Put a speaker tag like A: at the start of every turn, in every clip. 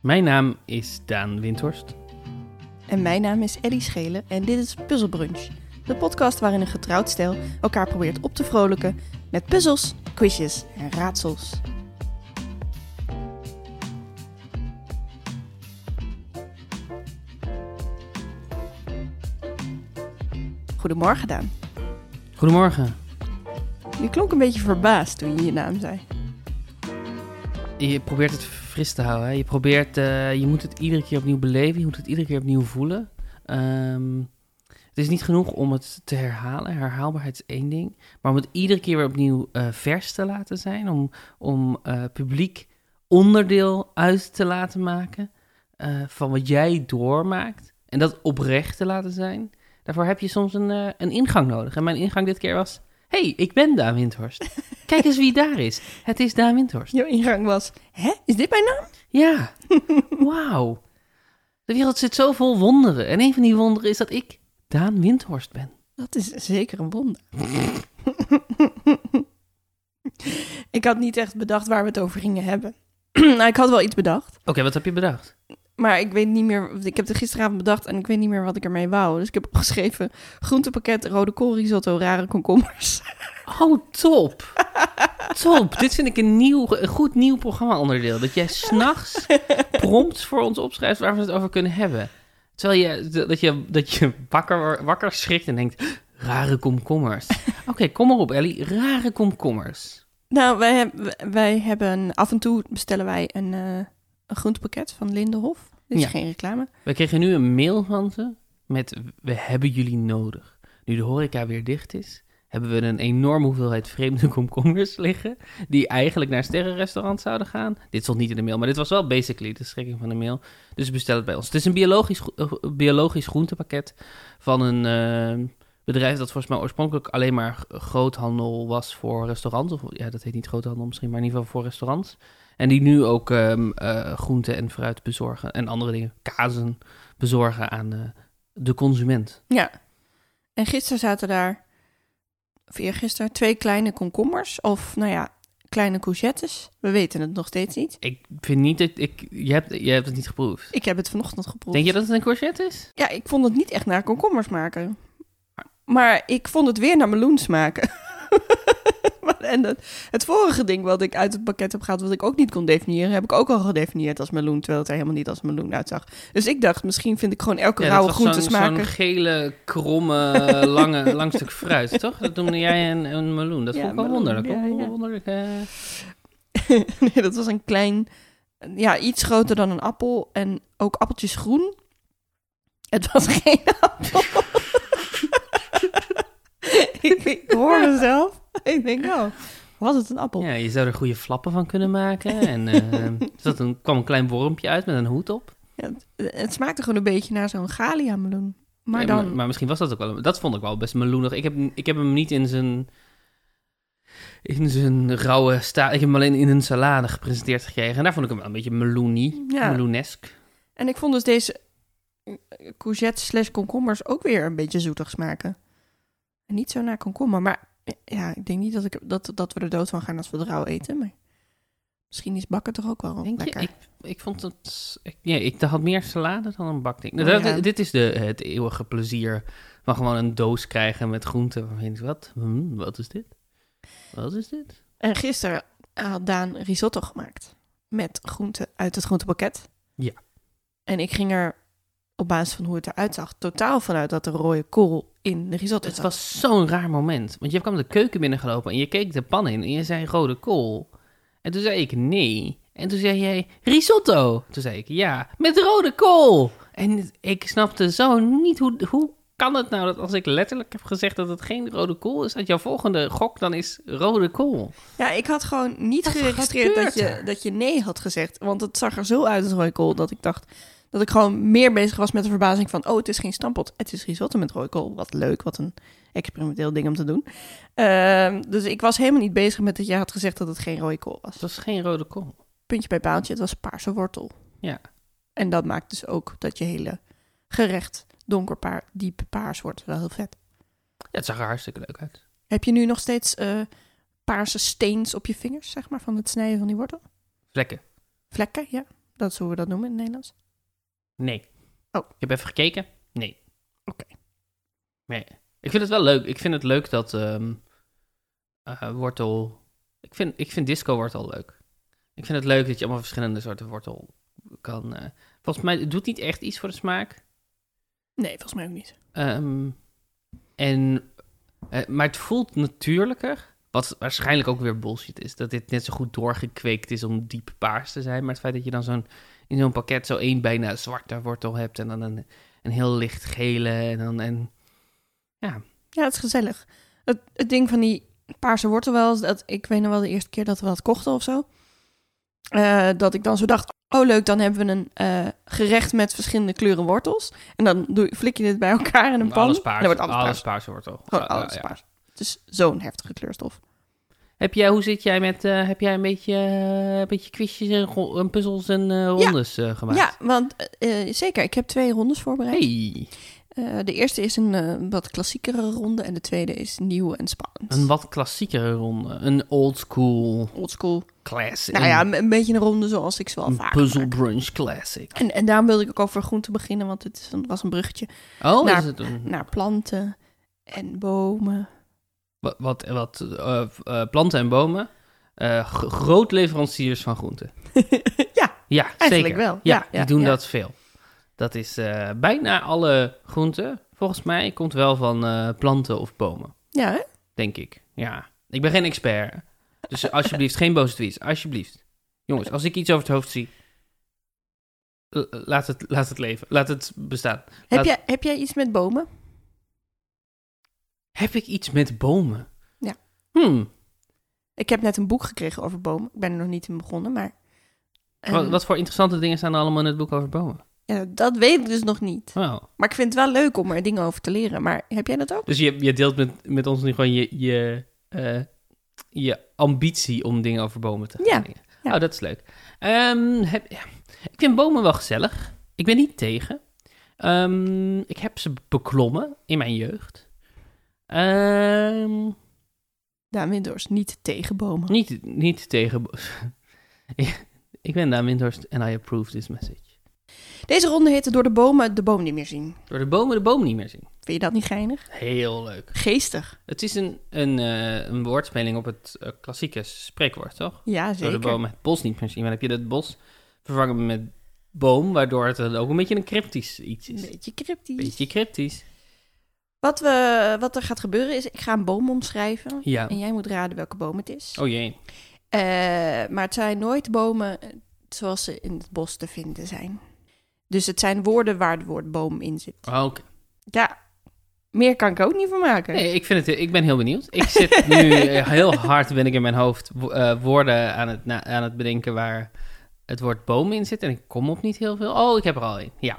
A: Mijn naam is Daan Windhorst.
B: En mijn naam is Ellie Schelen en dit is Puzzlebrunch. De podcast waarin een getrouwd stel elkaar probeert op te vrolijken met puzzels, quizjes en raadsels. Goedemorgen Daan.
A: Goedemorgen.
B: Je klonk een beetje verbaasd toen je je naam zei.
A: Je probeert het fris te houden. Hè? Je, probeert, eh, je moet het iedere keer opnieuw beleven. Je moet het iedere keer opnieuw voelen. Ehm, het is niet genoeg om het te herhalen. Herhaalbaarheid is één ding. Maar om het iedere keer weer opnieuw eh, vers te laten zijn. Om, om eh, publiek onderdeel uit te laten maken eh, van wat jij doormaakt. En dat oprecht te laten zijn. Daarvoor heb je soms een, eh, een ingang nodig. En mijn ingang dit keer was... hey, ik ben Daan Windhorst. Kijk eens wie daar is. Het is Daan Windhorst.
B: Jouw ingang was, hè, is dit mijn naam?
A: Ja, wauw. De wereld zit zo vol wonderen. En een van die wonderen is dat ik Daan Windhorst ben.
B: Dat is zeker een wonder. ik had niet echt bedacht waar we het over gingen hebben. nou, ik had wel iets bedacht.
A: Oké, wat heb je bedacht?
B: Maar ik weet niet meer. Ik heb het gisteravond bedacht en ik weet niet meer wat ik ermee wou. Dus ik heb opgeschreven: groentepakket, rode kool, risotto, rare komkommers.
A: Oh, top. Top. Dit vind ik een, nieuw, een goed nieuw programma-onderdeel. Dat jij s'nachts prompt voor ons opschrijft waar we het over kunnen hebben. Terwijl je, dat je, dat je wakker, wakker schrikt en denkt... Rare komkommers. Oké, kom maar op, Ellie. Rare komkommers.
B: nou, wij, heb- wij hebben. Af en toe bestellen wij een, eh, een groentepakket van Lindenhof. Dit is
A: Ja.
B: geen reclame.
A: We kregen nu een mail van ze met we hebben jullie nodig. Nu de horeca weer dicht is, hebben we een enorme hoeveelheid vreemde komkommers liggen die eigenlijk naar sterrenrestaurants zouden gaan. Dit stond niet in de mail, maar dit was wel basically de strekking van de mail. Dus bestel het bij ons. Het is een biologisch, gro- eh, biologisch groentepakket van een eh, bedrijf dat volgens mij oorspronkelijk alleen maar g- groothandel was voor restaurants. Of ja, dat heet niet groothandel misschien, maar in ieder geval voor restaurants. En die nu ook ehm eh, groente en fruit bezorgen en andere dingen, kazen bezorgen aan eh, de consument.
B: Ja. En gisteren zaten daar, of eergisteren, twee kleine komkommers. Of nou ja, kleine courgettes. We weten het nog steeds niet.
A: Ik vind niet dat ik. Je hebt, je hebt het niet geproefd.
B: Ik heb het vanochtend geproefd.
A: Denk je dat het een courgette is?
B: Ja, ik vond het niet echt naar komkommers maken. Maar ik vond het weer naar meloen smaken. Maar- en het, het vorige ding wat ik uit het pakket heb gehaald, wat ik ook niet kon definiëren, heb ik ook al gedefinieerd als meloen, terwijl het er helemaal niet als meloen uitzag. Dus ik dacht, misschien vind ik gewoon elke
A: Ja,
B: rauwe
A: dat was
B: groente
A: zo'n zo'n
B: smaken.
A: gele, kromme, lange, lang stuk fruit, toch? Dat noemde jij een, een meloen. Dat
B: Ja,
A: vond ik wel
B: meloen,
A: wonderlijk.
B: ja,
A: Wel
B: ja.
A: wonderlijk, eh.
B: nee, dat was een klein, ja, iets groter dan een appel en ook appeltjes groen. Het was geen appel. ik, ik hoor mezelf. Ik denk, oh, was het een appel?
A: Ja, je zou er goede flappen van kunnen maken. En eh, er zat een, kwam een klein wormpje uit met een hoed op.
B: Ja, het, het smaakte gewoon een beetje naar zo'n galia meloen. Maar
A: Ja,
B: dan,
A: maar, misschien was dat ook wel... een- Dat vond ik wel best meloenig. Ik heb, ik heb hem niet in zijn... In zijn rauwe staat. Ik heb hem alleen in een salade gepresenteerd gekregen. En daar vond ik hem wel een beetje meloenie.
B: Ja.
A: Meloenesk.
B: En ik vond dus deze eh, courgette slash komkommers ook weer een beetje zoetig smaken. En niet zo naar komkommer, maar eh, ja, ik denk niet dat, ik, dat, dat we er dood van gaan als we het rauw eten. Maar misschien is bakken toch ook wel
A: Denk je?
B: lekker.
A: Ik, ik vond het... Ik, ja, ik had meer salade dan een bakding. Nou,
B: Oh,
A: dat-
B: ja.
A: Dit is de, het eeuwige plezier van gewoon een doos krijgen met groenten. Waarvan je denkt, wat? Hmm, wat is dit? Wat is dit?
B: En gisteren had Daan risotto gemaakt met groenten uit het groentepakket.
A: Ja.
B: En ik ging er op basis van hoe het eruit zag totaal vanuit dat de rode kool in de risotto
A: Het
B: zat.
A: was zo'n raar moment. Want je kwam de keuken binnengelopen en je keek de pan in en je zei rode kool. En toen zei ik nee. En toen zei jij risotto. Toen zei ik ja, met rode kool. En ik snapte zo niet hoe, hoe kan het nou dat als ik letterlijk heb gezegd dat het geen rode kool is, dat jouw volgende gok dan is rode kool.
B: Ja, ik had gewoon niet
A: Wat
B: geregistreerd dat
A: gebeurt
B: je,
A: er?
B: dat je nee had gezegd. Want het zag er zo uit als rooikool dat ik dacht dat ik gewoon meer bezig was met de verbazing van... oh, het is geen stampot, het is risotto met rooikool. Wat leuk, wat een experimenteel ding om te doen. Ehm, dus ik was helemaal niet bezig met dat jij had gezegd dat het geen rooikool was.
A: Het was geen rode kool.
B: Puntje bij paaltje, het was paarse wortel.
A: Ja.
B: En dat maakt dus ook dat je hele gerecht donkerpaar, diep paars wordt. Wel heel vet.
A: Ja, het zag er hartstikke leuk uit.
B: Heb je nu nog steeds eh, paarse steens op je vingers, zeg maar, van het snijden van die wortel?
A: Vlekken.
B: Vlekken, ja. Dat is hoe we dat noemen in het Nederlands.
A: Nee.
B: Oh.
A: Ik heb even gekeken. Nee.
B: Oké.
A: Nee. Ik vind het wel leuk. Ik vind het leuk dat ehm, eh, wortel... Ik vind, ik vind disco wortel leuk. Ik vind het leuk dat je allemaal verschillende soorten wortel kan... eh, volgens mij het doet niet echt iets voor de smaak.
B: Nee, volgens mij ook niet.
A: Ehm, en, eh, maar het voelt natuurlijker. Wat waarschijnlijk ook weer bullshit is. Dat dit net zo goed doorgekweekt is om diep paars te zijn. Maar het feit dat je dan zo'n, in zo'n pakket zo één bijna zwarte wortel hebt. En dan een, een heel licht gele. En dan, en,
B: Ja, het is gezellig. Het, het ding van die paarse wortel wel, is dat ik weet nog wel de eerste keer dat we dat kochten of zo. eh, dat ik dan zo dacht, oh leuk, dan hebben we een eh, gerecht met verschillende kleuren wortels. En dan doe, je- flik je dit bij elkaar in een pan.
A: alles
B: En
A: paars.
B: dan wordt alles,
A: alles
B: paars.
A: paarse wortel.
B: Gewoon
A: Ja,
B: alles
A: ja.
B: paars. Het is zo'n heftige kleurstof.
A: Heb jij, hoe zit jij met, eh, heb jij een beetje, eh, een beetje quizjes en, ro- en puzzels en eh, rondes eh, gemaakt?
B: Ja, want eh, eh, zeker, ik heb twee rondes voorbereid.
A: Hey,
B: Eh, de eerste is een eh, wat klassiekere ronde en de tweede is nieuw en spannend.
A: een wat klassiekere ronde. Een old school
B: Old school.
A: classic.
B: Nou ja, een, een beetje een ronde zoals ik ze wel
A: Een
B: vaak
A: puzzle brunch classic.
B: En, en daarom wilde ik ook over groente beginnen, want het is een- was een bruggetje
A: Oh,
B: Naar-
A: is het een-
B: naar planten en bomen.
A: wa- wat, wat eh, eh, planten en bomen. eh, gro- groot leveranciers van groenten.
B: ja,
A: Ja,
B: eigenlijk
A: zeker.
B: wel.
A: Ja, die doen
B: ja.
A: dat veel. Dat is eh, bijna alle groenten, volgens mij, komt wel van eh, planten of bomen,
B: Ja, hè?
A: denk ik. Ja, ik ben geen expert. Dus alsjeblieft, geen boze tweets. Alsjeblieft. Jongens, als ik iets over het hoofd zie, eh, eh, laat het, laat het leven. Laat het bestaan.
B: Heb,
A: Laat-
B: jij, heb jij iets met bomen?
A: Heb ik iets met bomen?
B: Ja.
A: Hmm,
B: Ik heb net een boek gekregen over bomen. Ik ben er nog niet in begonnen, maar... eh,
A: wat, wat voor interessante dingen staan er allemaal in het boek over bomen?
B: ja, dat weet ik dus nog niet.
A: Wow.
B: Maar ik vind het wel leuk om er dingen over te leren. Maar heb jij dat ook?
A: Dus je, je deelt met, met ons nu gewoon je, je, eh, je ambitie om dingen over bomen te gaan
B: Ja,
A: leren.
B: ja.
A: Oh, dat is leuk. Ehm, heb, ja. Ik vind bomen wel gezellig. Ik ben niet tegen. Ehm, ik heb ze beklommen in mijn jeugd. Ehm,
B: Daan Windhorst, niet tegen bomen.
A: niet, niet tegen... bo- Ik- ik ben Daan Windhorst en I approve this message.
B: Deze ronde heette Door de bomen de boom niet meer zien.
A: Door de bomen de boom niet meer zien.
B: Vind je dat niet geinig?
A: Heel leuk.
B: Geestig.
A: Het is een, een, eh, een woordspeling op het eh, klassieke spreekwoord, toch?
B: Ja,
A: Door de
B: zeker.
A: bomen het bos niet meer zien. Maar dan heb je dat bos vervangen met boom, waardoor het dan ook een beetje een cryptisch iets
B: Een
A: is.
B: beetje cryptisch.
A: Beetje cryptisch.
B: Wat, we, wat er gaat gebeuren is, ik ga een boom omschrijven.
A: Ja.
B: En jij moet raden welke boom het is.
A: Oh jee.
B: Eh, maar het zijn nooit bomen zoals ze in het bos te vinden zijn. Dus het zijn woorden waar het woord boom in zit.
A: Oh, Oké.
B: Ja, meer kan ik er ook niet van maken.
A: Nee, ik, vind het, ik ben heel benieuwd. Ik zit nu eh, heel hard, ben ik in mijn hoofd, wo- eh, woorden aan het, na- aan het bedenken waar het woord boom in zit. En ik kom op niet heel veel. Oh, ik heb er al één. Ja.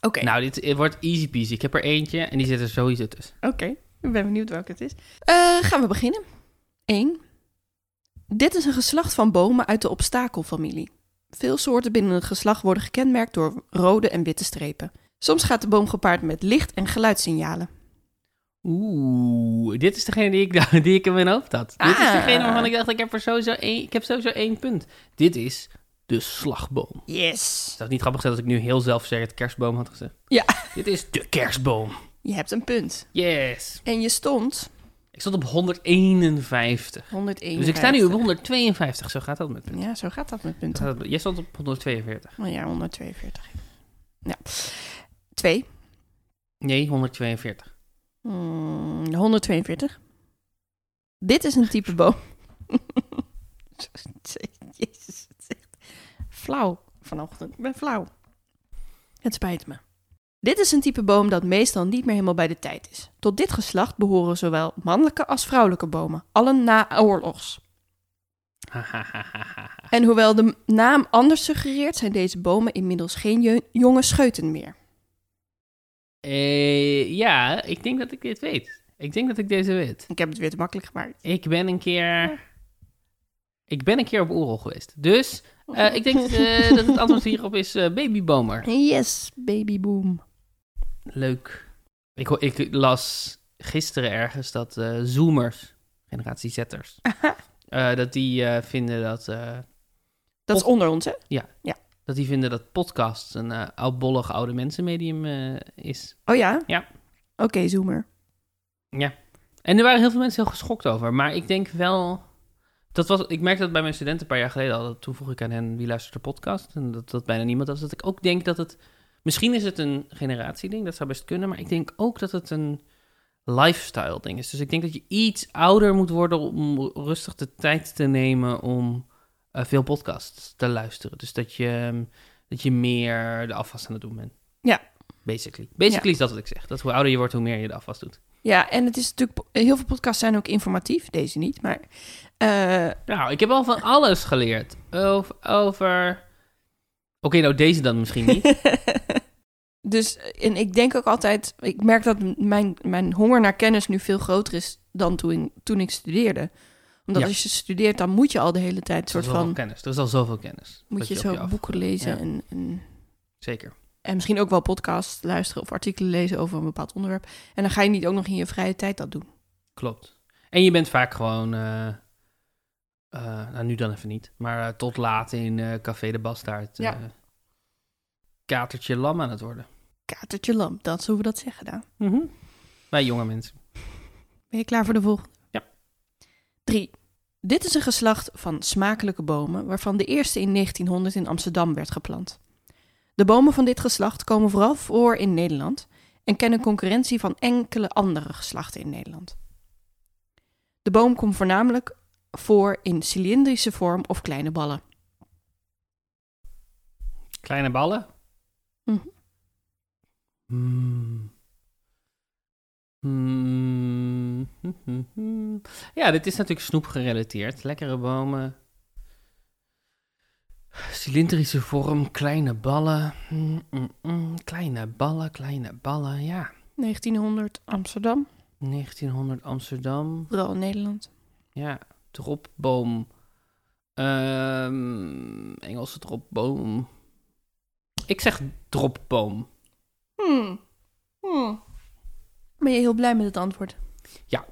B: Oké,
A: Nou, dit eh, wordt easy peasy. Ik heb er eentje en die zit er sowieso tussen.
B: oké. ik ben benieuwd welke het is. Eh, gaan we beginnen. 1. Dit is een geslacht van bomen uit de obstakelfamilie. Veel soorten binnen het geslacht worden gekenmerkt door rode en witte strepen. Soms gaat de boom gepaard met licht- en geluidssignalen.
A: Oeh, dit is degene die ik, die ik in mijn hoofd had. Dit is
B: Ah.
A: degene waarvan ik dacht, ik heb, er sowieso één, ik heb sowieso één punt. Dit is de slagboom.
B: Yes.
A: Zou het niet grappig zijn als ik nu heel zelfverzekerd kerstboom had gezegd?
B: Ja.
A: Dit is de kerstboom.
B: Je hebt een punt.
A: Yes.
B: En je stond
A: Ik stond op 151.
B: 101.
A: Dus ik sta nu op 152. Zo gaat dat met punten.
B: Ja, zo gaat dat met
A: Zo
B: punten.
A: gaat dat- Jij stond op 142.
B: Oh ja, 142. Ja. Twee.
A: Nee, 142.
B: Hmm, 142. Dit is een type boom. Jezus, het is echt flauw vanochtend. Ik ben flauw. Het spijt me. Dit is een type boom dat meestal niet meer helemaal bij de tijd is. Tot dit geslacht behoren zowel mannelijke als vrouwelijke bomen, allen na oorlogs. En hoewel de naam anders suggereert, zijn deze bomen inmiddels geen je- jonge scheuten meer.
A: Eh, ja, ik denk dat ik dit weet. Ik denk dat ik deze weet.
B: Ik heb het weer te makkelijk gemaakt.
A: Ik ben een keer. Ik ben een keer op Oerol geweest. Dus eh, ik denk eh, dat het antwoord hierop is eh, babybomer.
B: Yes, babyboom.
A: Leuk. Ik, ho- ik las gisteren ergens dat eh, Zoomers, generatie Zetters, eh, dat die eh, vinden dat. eh,
B: Dat is onder ons, hè?
A: Ja.
B: ja.
A: Dat die vinden dat podcasts een eh, oudbollig oude mensenmedium eh, is.
B: Oh ja?
A: Ja.
B: Oké, Zoomer.
A: En er waren heel veel mensen heel geschokt over. Maar ik denk wel... Dat was, ik merkte dat bij mijn studenten een paar jaar geleden al. Toen vroeg ik aan hen wie luistert de podcast. En dat dat bijna niemand was. Dat ik ook denk dat het... Misschien is het een generatieding, dat zou best kunnen. Maar ik denk ook dat het een lifestyle ding is. Dus ik denk dat je iets ouder moet worden om rustig de tijd te nemen om eh, veel podcasts te luisteren. Dus dat je, ehm, dat je meer de afwas aan het doen bent.
B: Ja.
A: Basically. Basically is dat wat ik zeg. Dat hoe ouder je wordt, hoe meer je de afwas doet.
B: Ja, en het is natuurlijk... Heel veel podcasts zijn ook informatief. Deze niet, maar... eh,
A: Nou, ik heb al van alles geleerd. Over. over... Oké, nou deze dan misschien niet.
B: dus, en ik denk ook altijd... Ik merk dat m- mijn, mijn honger naar kennis nu veel groter is dan toen, toen ik studeerde. Omdat
A: Ja.
B: als je studeert, dan moet je al de hele tijd een
A: Er is
B: soort
A: al
B: van...
A: kennis. Er is al zoveel kennis.
B: Moet
A: Dat
B: je
A: op
B: zo
A: af-
B: boeken lezen
A: Ja.
B: en, en,
A: Zeker.
B: en misschien ook wel podcasts luisteren of artikelen lezen over een bepaald onderwerp. En dan ga je niet ook nog in je vrije tijd dat doen.
A: Klopt. En je bent vaak gewoon. eh, eh, nou, nu dan even niet. Maar eh, tot laat in eh, Café de Bastaard.
B: Ja.
A: eh, katertje lam aan het worden.
B: Katertje lam, dat zullen we dat zeggen dan.
A: Bij jonge mensen.
B: Ben je klaar voor de volgende?
A: Ja.
B: 3. Dit is een geslacht van smakelijke bomen, waarvan de eerste in 1900 in Amsterdam werd geplant. De bomen van dit geslacht komen vooral voor in Nederland en kennen concurrentie van enkele andere geslachten in Nederland. De boom komt voornamelijk voor in cilindrische vorm of kleine ballen.
A: Kleine ballen.
B: Mhm.
A: Hmm. Hmm. Ja, dit is natuurlijk snoep gerelateerd. Lekkere bomen. Cylindrische vorm, kleine ballen. Hmm, hmm, hmm. Kleine ballen, kleine ballen. Ja,
B: 1900 Amsterdam,
A: 1900 Amsterdam.
B: vooral in Nederland.
A: Ja, dropboom. Ehm, Engelse dropboom. Ik zeg dropboom.
B: Hmm. Hmm. Ben je heel blij met het antwoord?
A: Ja.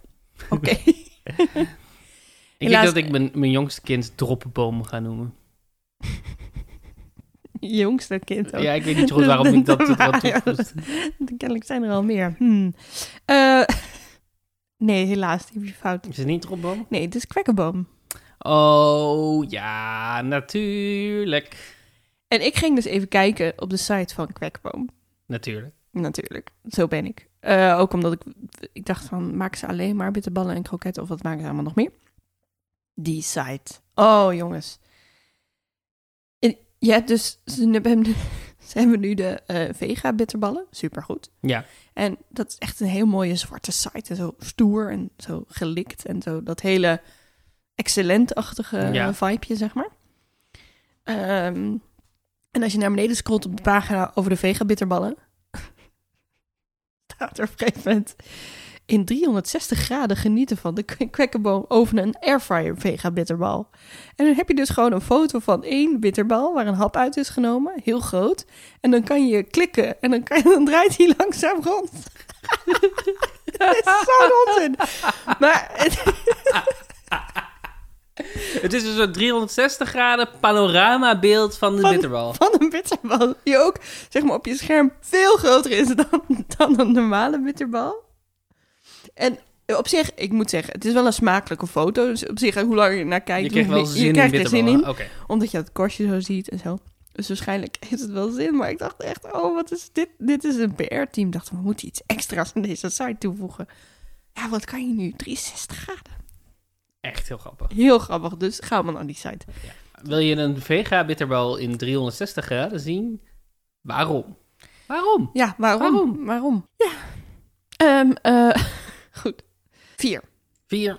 B: Oké.
A: Ik
B: Helaas-
A: denk dat ik mijn, mijn jongste kind dropboom ga noemen.
B: Jongste kind ook.
A: Ja, ik weet niet zo goed waarom ik dat, dat, dat toevoeg.
B: Kennelijk zijn er al meer. Hmm. Eh, nee, helaas, die heb je fout.
A: Is het niet dropboom?
B: Nee, het is kwekkenboom.
A: Oh, ja, natuurlijk.
B: En ik ging dus even kijken op de site van kwekkenboom.
A: Natuurlijk.
B: Natuurlijk, zo ben ik. Eh, ook omdat ik, ik dacht van, maken ze alleen maar bitterballen en kroketten of wat maken ze allemaal nog meer? Die site. Oh, jongens. En je hebt dus, ze hebben nu, ze hebben nu de eh, vega bitterballen, supergoed.
A: Ja.
B: En dat is echt een heel mooie zwarte site. En zo stoer en zo gelikt. En zo dat hele excellent-achtige
A: Ja.
B: eh, vibeje, zeg maar. Ehm, en als je naar beneden scrolt op de pagina over de vega-bitterballen... staat er op een gegeven moment... in 360 graden genieten van de k- kwekkenboom over een airfryer vega-bitterbal. En dan heb je dus gewoon een foto van één bitterbal... waar een hap uit is genomen, heel groot. En dan kan je klikken en dan, kan, dan draait hij langzaam rond. Dat is zo'n onzin. Maar het-
A: Het is dus een soort 360 graden panoramabeeld van de
B: Van-
A: bitterbal.
B: van een bitterbal die ook zeg maar, op je scherm veel groter is dan, dan een normale bitterbal. En op zich, ik moet zeggen, het is wel een smakelijke foto. Dus op zich, hoe langer je naar kijkt,
A: Je krijgt
B: hoe-
A: wel
B: je
A: zin in
B: krijgt er zin
A: bitterballen.
B: in.
A: Oké.
B: Omdat je dat korstje zo ziet en zo. Dus waarschijnlijk heeft het wel zin. Maar ik dacht echt, oh, wat is dit? Dit is een PR-team. dacht, we moeten iets extra's aan deze site toevoegen. Ja, wat kan je nu? 360 graden.
A: Echt heel grappig.
B: Heel grappig, dus ga maar naar die site.
A: Wil je een vega bitterbal in 360 graden zien? Waarom? Waarom?
B: Ja, waarom?
A: Waarom?
B: Waarom? Ja. Ehm, eh, goed. Vier.
A: Vier.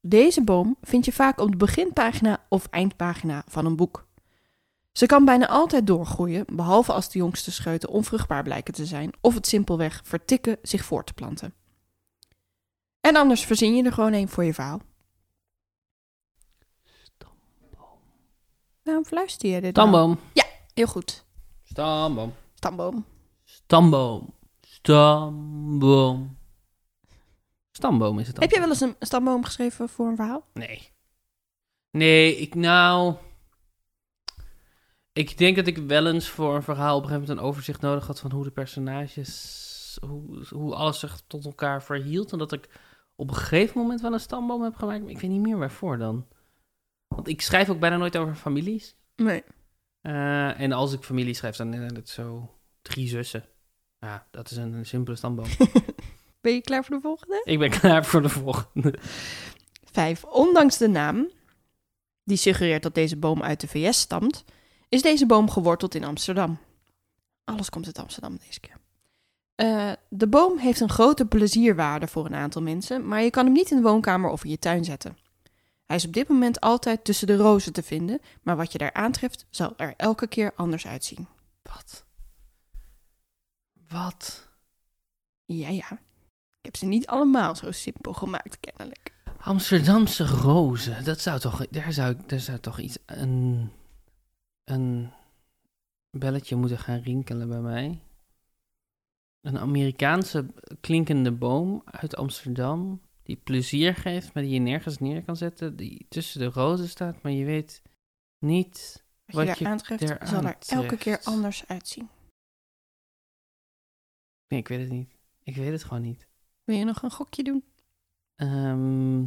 B: Deze boom vind je vaak op de beginpagina of eindpagina van een boek. Ze kan bijna altijd doorgroeien, behalve als de jongste scheuten onvruchtbaar blijken te zijn of het simpelweg vertikken zich voort te planten. En anders verzin je er gewoon een voor je verhaal. Waarom fluister je dit? nou?
A: Stamboom.
B: Heel goed.
A: Stamboom.
B: Stamboom.
A: Stamboom. Stamboom. Stamboom is het dan.
B: Heb jij wel eens een stamboom geschreven voor een verhaal?
A: Nee. Nee, ik nou... Ik denk dat ik wel eens voor een verhaal op een gegeven moment een overzicht nodig had van hoe de personages, hoe, hoe alles zich tot elkaar verhield. En dat ik op een gegeven moment wel een stamboom heb gemaakt, maar ik weet niet meer waarvoor dan. Want ik schrijf ook bijna nooit over families.
B: Nee.
A: Eh, en als ik familie schrijf, dan zijn het zo drie zussen. Ja, dat is een, een simpele stamboom.
B: Ben je klaar voor de volgende?
A: ik ben klaar voor de volgende.
B: Vijf. Ondanks de naam, die suggereert dat deze boom uit de VS stamt, is deze boom geworteld in Amsterdam. Alles komt uit Amsterdam deze keer. Eh, de boom heeft een grote plezierwaarde voor een aantal mensen, maar je kan hem niet in de woonkamer of in je tuin zetten. Hij is op dit moment altijd tussen de rozen te vinden, maar wat je daar aantreft zal er elke keer anders uitzien.
A: Wat? Wat?
B: Ja, ja. Ik heb ze niet allemaal zo simpel gemaakt, kennelijk.
A: Amsterdamse rozen. Dat zou toch, daar zou, daar zou toch iets, een, een belletje moeten gaan rinkelen bij mij. Een Amerikaanse klinkende boom uit Amsterdam. Die plezier geeft, maar die je nergens neer kan zetten. Die tussen de rozen staat, maar je weet niet.
B: Wat je
A: Wat je
B: daar aantreft
A: daar
B: zal er elke
A: aantreft.
B: keer anders uitzien.
A: Nee, ik weet het niet. Ik weet het gewoon niet.
B: Wil je nog een gokje doen?
A: Ehm,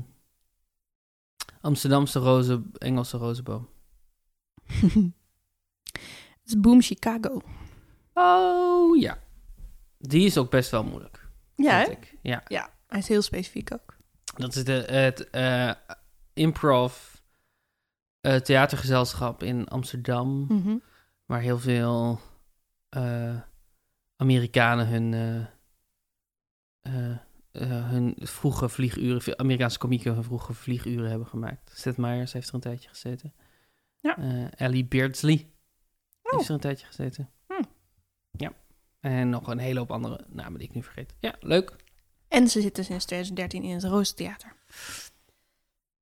A: Amsterdamse rozen, Engelse rozenboom.
B: Het is Boom Chicago.
A: Oh ja. Die is ook best wel moeilijk.
B: Ja,
A: vind
B: hè?
A: ik. Ja.
B: Ja, hij is heel specifiek ook.
A: Dat is de, het eh, improv eh, theatergezelschap in Amsterdam.
B: Mhm.
A: Waar heel veel eh, Amerikanen hun, eh, eh, eh, hun vroege vlieguren, veel Amerikaanse komieken hun vroege vlieguren hebben gemaakt. Seth Meyers heeft er een tijdje gezeten.
B: Ja. Oh.
A: Eh, Ellie Beardsley heeft er een tijdje gezeten.
B: Hm.
A: Ja. En nog een hele hoop andere namen die ik nu vergeet. Ja, leuk.
B: En ze zitten sinds 2013 in het Roostheater.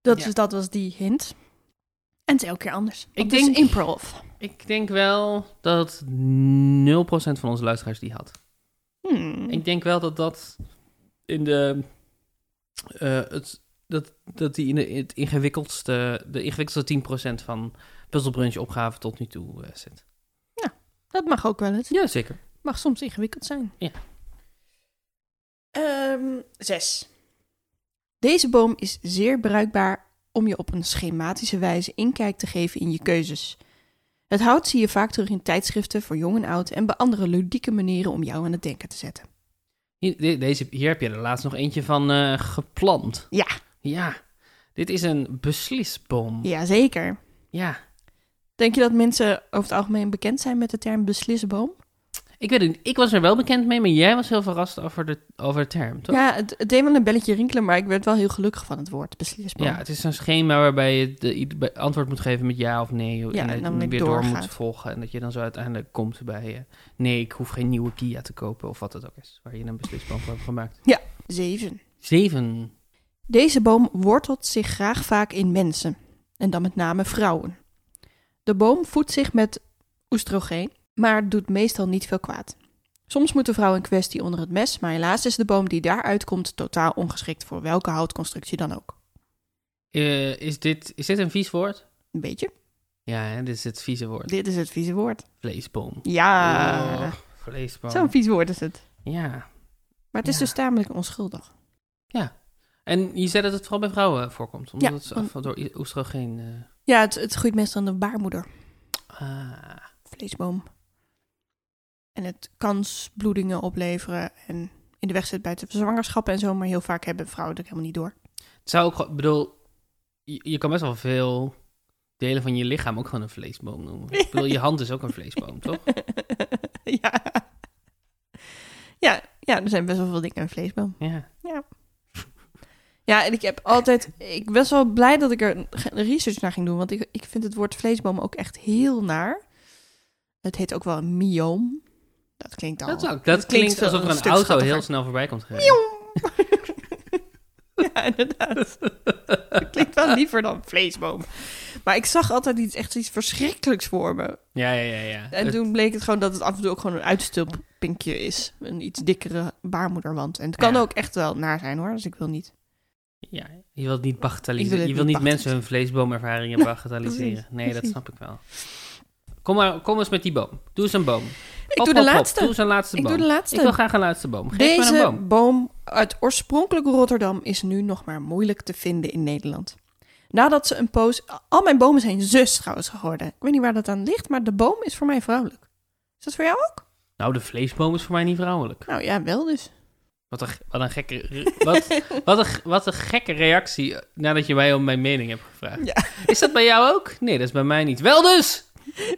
B: Dat,
A: Ja.
B: dus, dat was die hint. En het is elke keer anders. Want
A: Ik
B: het is
A: denk-
B: improv.
A: Ik denk wel dat 0% van onze luisteraars die had.
B: Hmm.
A: Ik denk wel dat dat in de. eh, het, dat, dat die in de, in het ingewikkeldste. De ingewikkeldste 10% van Puzzle Brunch opgave tot nu toe eh, zit.
B: Dat mag ook wel eens.
A: Ja, zeker.
B: Mag soms ingewikkeld zijn.
A: Ja.
B: Ehm, zes. Deze boom is zeer bruikbaar om je op een schematische wijze inkijk te geven in je keuzes. Het hout zie je vaak terug in tijdschriften voor jong en oud en bij andere ludieke manieren om jou aan het denken te zetten.
A: Hier, de- deze, hier heb je er laatst nog eentje van eh, geplant.
B: Ja.
A: Ja. Dit is een beslisboom. Ja.
B: Jazeker. Denk je dat mensen over het algemeen bekend zijn met de term beslisboom?
A: Ik weet het niet. Ik was er wel bekend mee, maar jij was heel verrast over de, over de term, toch?
B: Ja, het, het deed wel een belletje rinkelen, maar ik werd wel heel gelukkig van het woord beslisboom.
A: Ja, het is een schema waarbij je de, ieder- bij- antwoord moet geven met ja of nee.
B: Ja,
A: en,
B: en dan
A: het
B: weer
A: weer door
B: doorgaat.
A: moet volgen. En dat je dan zo uiteindelijk komt bij eh, nee, ik hoef geen nieuwe Kia te kopen. Of wat het ook is, waar je een beslisplan voor hebt gemaakt.
B: Zeven.
A: Zeven.
B: Deze boom wortelt zich graag vaak in mensen, en dan met name vrouwen. De boom voedt zich met oestrogeen, maar doet meestal niet veel kwaad. Soms moet de vrouw in kwestie onder het mes, maar helaas is de boom die daaruit komt totaal ongeschikt voor welke houtconstructie dan ook.
A: Eh, is, dit, is dit een vies woord?
B: Een beetje.
A: Ja, hè, dit is het vieze woord.
B: Dit is het vieze woord.
A: Vleesboom.
B: Ja,
A: Oh, vleesboom.
B: Ah. zo'n vies woord is het.
A: Ja.
B: Maar het
A: Ja.
B: is dus tamelijk onschuldig.
A: En je zei dat het vooral bij vrouwen voorkomt. Omdat
B: Ja,
A: het
B: om-
A: af- door i- oestrogeen... eh,
B: Ja, het, het groeit meestal aan de baarmoeder.
A: ah,
B: vleesboom. En het kan s- bloedingen opleveren en in de weg zit bij het zwangerschap en zo, maar heel vaak hebben vrouwen dat helemaal niet door.
A: het zou ook... gewoon- Ik bedoel, je, je kan best wel veel delen van je lichaam ook gewoon een vleesboom noemen. Ik bedoel, je hand is ook een vleesboom, toch?
B: ja. ja. Ja, er zijn best wel veel dingen een vleesboom.
A: Ja.
B: Ja, en ik heb altijd, ik was wel blij dat ik er een ge- research naar ging doen, want ik, ik vind het woord vleesboom ook echt heel naar. Het heet ook wel een myoom. Dat klinkt al.
A: Dat, zou, dat,
B: klinkt
A: klinkt
B: veel-
A: alsof er
B: een
A: een,
B: stuk
A: auto
B: schattiger.
A: heel snel voorbij komt gereden.
B: Mioom. ja, inderdaad. Dat klinkt wel liever dan vleesboom. Maar ik zag altijd iets, echt iets verschrikkelijks voor me.
A: Ja, ja, ja. ja.
B: En
A: Het-
B: toen bleek het gewoon dat het af en toe ook gewoon een uitstulppinkje is. Een iets dikkere baarmoederwand. En het kan
A: Ja.
B: ook echt wel naar zijn hoor, dus ik wil niet.
A: ja, je wilt niet
B: Ik wil
A: bagatelliseren.
B: het
A: je wilt
B: niet
A: niet mensen hun vleesboomervaringen bagatelliseren.
B: precies,
A: Nee, dat
B: precies.
A: snap ik wel. Kom, maar, kom eens met die boom. Doe eens een boom.
B: Ik doe de laatste.
A: Doe eens een laatste
B: Ik
A: boom.
B: doe de laatste.
A: Ik wil graag een laatste boom. Geef
B: Deze
A: me een boom.
B: boom. uit oorspronkelijk Rotterdam is nu nog maar moeilijk te vinden in Nederland. Nadat ze een poos... Al mijn bomen zijn zus trouwens geworden. Ik weet niet waar dat aan ligt, maar de boom is voor mij vrouwelijk. Is dat voor jou ook?
A: Nou, de vleesboom is voor mij niet vrouwelijk.
B: Nou ja, wel dus.
A: Wat een, wat een gekke... re- Wat, wat, een, g- wat een gekke reactie eh, nadat je mij om mijn mening hebt gevraagd.
B: Ja.
A: Is dat bij jou ook? Nee, dat is bij mij niet. Wel dus!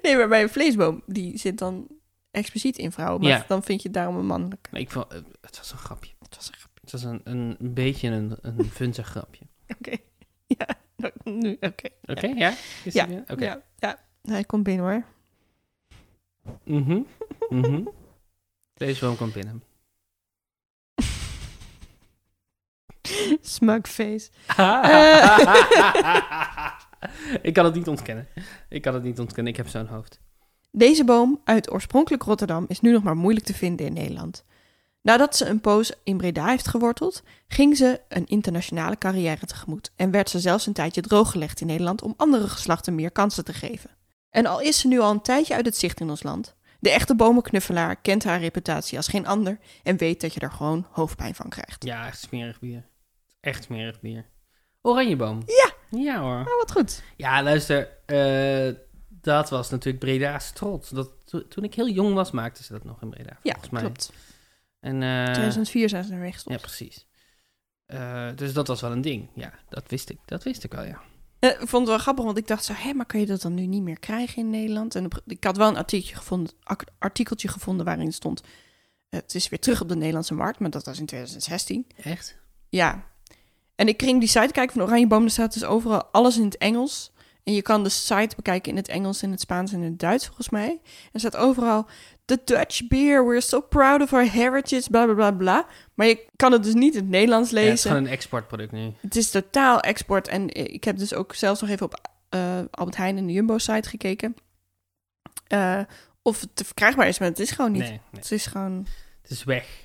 B: Nee, maar bij een vleesboom, die zit dan expliciet in vrouwen. Maar
A: Ja.
B: dan vind je het daarom een mannelijke.
A: Nee, ik vond, eh, het was een grapje.
B: Het was een grap.
A: Het was een, een, een beetje een, een vunzig grapje.
B: Oké. Ja, nou, nu, oké.
A: Oké, ja? Is
B: Ja.
A: die- Oké.
B: Ja, ja. Hij komt binnen hoor.
A: Mhm, mhm. Deze boom komt binnen.
B: Smugface.
A: ik kan het niet ontkennen. Ik kan het niet ontkennen. Ik heb zo'n hoofd.
B: Deze boom uit oorspronkelijk Rotterdam is nu nog maar moeilijk te vinden in Nederland. Nadat ze een poos in Breda heeft geworteld, ging ze een internationale carrière tegemoet en werd ze zelfs een tijdje drooggelegd in Nederland om andere geslachten meer kansen te geven. En al is ze nu al een tijdje uit het zicht in ons land, de echte bomenknuffelaar kent haar reputatie als geen ander en weet dat je er gewoon hoofdpijn van krijgt.
A: Ja, echt smerig bier. Echt smerig bier. Oranjeboom.
B: Ja,
A: Ja hoor.
B: nou wat goed.
A: Ja, luister. eh, dat was natuurlijk Breda's trots. Dat, to- toen ik heel jong was, maakten ze dat nog in Breda.
B: Ja,
A: volgens mij.
B: klopt.
A: En, eh,
B: 2004 zijn ze er
A: ja,
B: weggestopt.
A: precies. Eh, dus dat was wel een ding. Ja, dat wist ik. Dat wist ik wel, ja.
B: Eh, ik vond het wel grappig, want ik dacht zo, hé, maar kan je dat dan nu niet meer krijgen in Nederland? En op- ik had wel een artikeltje gevonden, ak- artikeltje gevonden waarin stond, eh, het is weer terug op de Nederlandse markt, maar dat was in 2016.
A: Echt?
B: Ja. En ik ging die site kijken van Oranjeboom, daar staat dus overal alles in het Engels. En je kan de site bekijken in het Engels, in het Spaans en in het Duits, volgens mij. En er staat overal, the Dutch beer, we're so proud of our heritage, bla bla bla bla. Maar je kan het dus niet in het Nederlands
A: Ja,
B: lezen.
A: het is gewoon een exportproduct nu.
B: Het is totaal export. En ik heb dus ook zelfs nog even op eh, Albert Heijn en de Jumbo-site gekeken. Eh, of het te verkrijgbaar is, maar het is gewoon niet.
A: Nee, nee,
B: Het is gewoon...
A: het is weg.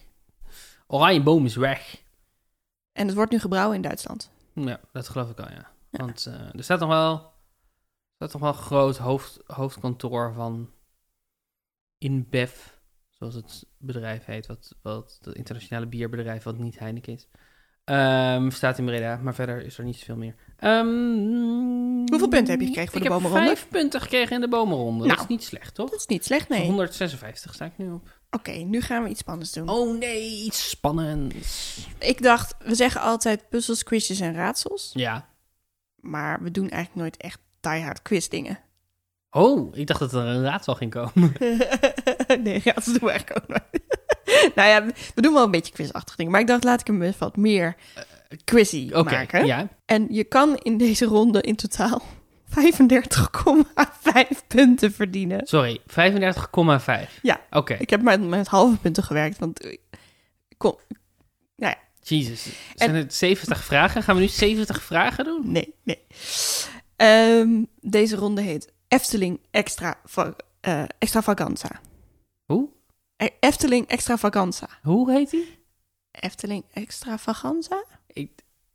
A: Oranjeboom is weg.
B: En het wordt nu gebrouwen in Duitsland.
A: Ja, dat geloof ik al, ja.
B: Ja.
A: Want eh, er staat nog wel, er staat nog wel een groot hoofd, hoofdkantoor van InBev, zoals het bedrijf heet, wat, wat het internationale bierbedrijf, wat niet Heineken is. Ehm, staat in Breda, maar verder is er niet zoveel meer. Ehm,
B: Hoeveel punten heb je gekregen voor
A: ik
B: de
A: heb
B: bomenronde?
A: vijf punten gekregen in de bomenronde.
B: Nou.
A: Dat is niet slecht, toch?
B: Dat is niet slecht, nee. Oké,
A: 156 sta ik nu op.
B: nu gaan we iets spannends doen.
A: Oh nee, iets spannends.
B: Ik dacht, we zeggen altijd puzzels, quizjes en raadsels.
A: Ja.
B: Maar we doen eigenlijk nooit echt diehard quiz dingen.
A: Oh, ik dacht dat er een raadsel ging komen.
B: nee, ja, dat doen we eigenlijk ook nooit. nou ja, we doen wel een beetje quizachtige dingen. Maar ik dacht, laat ik hem eens wat meer quizzy
A: Oké,
B: maken.
A: ja.
B: En je kan in deze ronde in totaal 35,5 punten verdienen.
A: Sorry, 35,5.
B: Ja.
A: Oké,
B: Ik heb maar met halve punten gewerkt, want eh, kom,
A: jezus. Zijn
B: En-
A: het 70 vragen? Gaan we nu 70 vragen doen?
B: nee, nee. Ehm, deze ronde heet Efteling Extra va- eh, Extravaganza.
A: Hoe?
B: E- Efteling Extravaganza.
A: Hoe heet die?
B: Efteling Extravaganza?
A: Ik,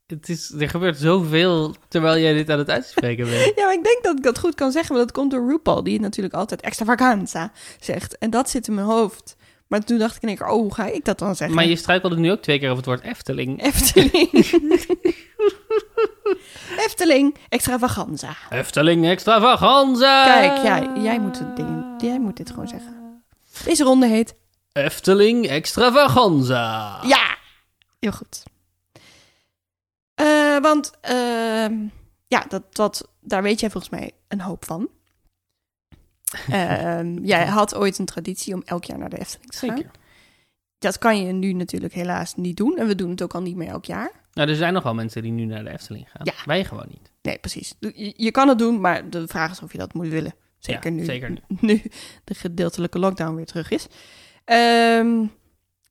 A: het is, er gebeurt zoveel terwijl jij dit aan het uitspreken bent.
B: Ja, maar ik denk dat ik dat goed kan zeggen, maar dat komt door RuPaul, die natuurlijk altijd Extravaganza zegt. En dat zit in mijn hoofd. Maar toen dacht ik in één keer, oh, hoe ga ik dat dan zeggen?
A: Maar je struikelde nu ook twee keer over het woord Efteling.
B: Efteling. Efteling, extravaganza.
A: Efteling extravaganza!
B: Kijk, jij- jij moet het ding- jij moet dit gewoon zeggen. Deze ronde heet
A: Efteling extravaganza!
B: Ja. Heel goed. Eh, want ehm, ja, dat, dat, daar weet jij volgens mij een hoop van. Ehm, jij had ooit een traditie om elk jaar naar de Efteling te gaan.
A: Zeker.
B: Dat kan je nu natuurlijk helaas niet doen. En we doen het ook al niet meer elk jaar.
A: Nou, er zijn nogal mensen die nu naar de Efteling gaan.
B: Ja.
A: Wij gewoon niet.
B: Nee, precies. Je, je kan het doen, maar de vraag is of je dat moet willen. Zeker
A: Ja,
B: nu.
A: Zeker nu.
B: nu de gedeeltelijke lockdown weer terug is. Ehm,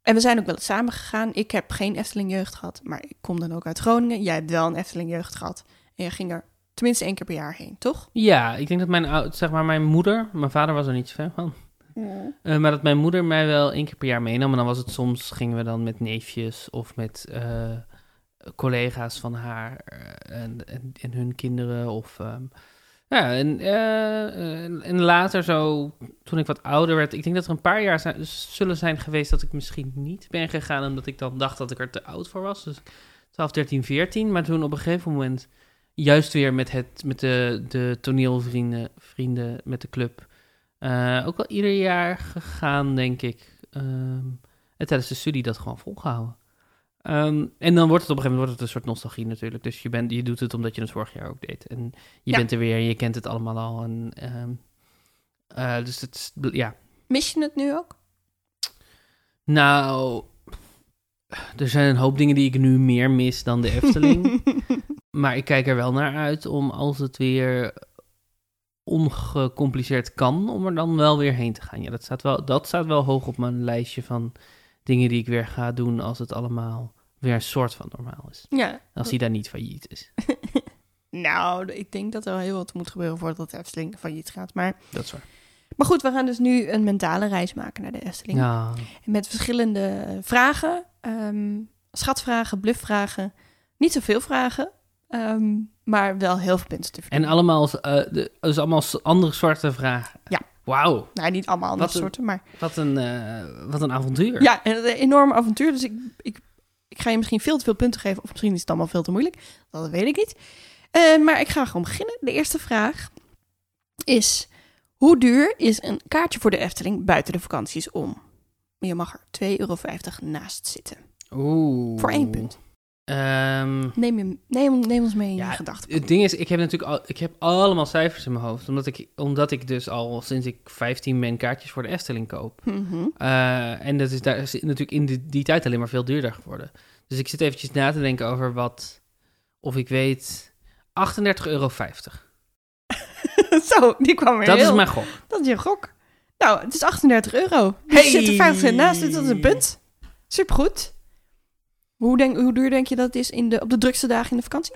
B: en we zijn ook wel eens samen gegaan. Ik heb geen Efteling jeugd gehad, maar ik kom dan ook uit Groningen. Jij hebt wel een Efteling jeugd gehad. En jij ging er tenminste één keer per jaar heen, toch?
A: Ja, ik denk dat mijn, oud- zeg maar, mijn moeder... Mijn vader was er niet zo fan van. Eh, maar dat mijn moeder mij wel één keer per jaar meenam. En dan was het soms, gingen we dan met neefjes of met eh, collega's van haar eh, en, en, en hun kinderen. Of ehm, Ja, en, eh, eh, en later zo, toen ik wat ouder werd, ik denk dat er een paar jaar zijn- zullen zijn geweest dat ik misschien niet ben gegaan, omdat ik dan dacht dat ik er te oud voor was. Dus 12, 13, 14. Maar toen op een gegeven moment, juist weer met, het, met de, de toneelvrienden, vrienden met de club, eh, ook wel ieder jaar gegaan, denk ik. Ehm, en tijdens de studie dat gewoon volgehouden. Ehm, en dan wordt het op een gegeven moment wordt het een soort nostalgie natuurlijk. Dus je, bent, je doet het omdat je het vorig jaar ook deed. En je
B: Ja.
A: bent er weer en je kent het allemaal al. En, ehm, eh, dus het, is- ja.
B: Mis je het nu ook?
A: Nou, er zijn een hoop dingen die ik nu meer mis dan de Efteling. Maar ik kijk er wel naar uit om als het weer ongecompliceerd kan, om er dan wel weer heen te gaan. Ja, dat staat wel, dat staat wel hoog op mijn lijstje van dingen die ik weer ga doen als het allemaal weer een soort van normaal is.
B: ja.
A: Als die daar niet failliet is.
B: Nou, ik denk dat er wel heel wat moet gebeuren voordat de Efteling failliet gaat. Maar,
A: Dat soort.
B: maar goed, we gaan dus nu een mentale reis maken naar de Efteling.
A: Ja,
B: Met verschillende eh, vragen. ehm, schatvragen, bluffvragen. Niet zoveel vragen, ehm, maar wel heel veel punten te
A: en
B: verdienen.
A: allemaal, als, eh, de, dus allemaal s- andere soorten vragen.
B: Ja.
A: Wauw,
B: Nou, niet allemaal andere
A: Wat een-
B: soorten, maar...
A: wat een, eh, wat een avontuur.
B: Ja, en een enorm avontuur. Dus ik, ik, ik ga je misschien veel te veel punten geven. Of misschien is het allemaal veel te moeilijk. Dat weet ik niet. Eh, maar ik ga gewoon beginnen. De eerste vraag is... Hoe duur is een kaartje voor de Efteling buiten de vakanties om? Je mag er 2,50 euro naast zitten.
A: Oeh.
B: Voor één punt.
A: Ehm,
B: Neem, je, neem, neem ons mee in
A: Ja,
B: je gedachten.
A: Het ding is, ik heb natuurlijk al, ik heb allemaal cijfers in mijn hoofd. Omdat ik, omdat ik dus al sinds ik 15 ben kaartjes voor de Efteling koop.
B: Mhm.
A: Eh, en dat is daar is natuurlijk in die, die tijd alleen maar veel duurder geworden. Dus ik zit eventjes na te denken over wat, of ik weet, 38,50 euro.
B: Zo, die kwam weer
A: Dat is
B: heel-
A: mijn gok.
B: Dat is je gok. Nou, het is 38 euro. Dus
A: Hey!
B: Je zit er 50 cent naast, dus dat is een punt. Supergoed. Hoe, denk, hoe duur denk je dat het is in de, op de drukste dagen in de vakantie?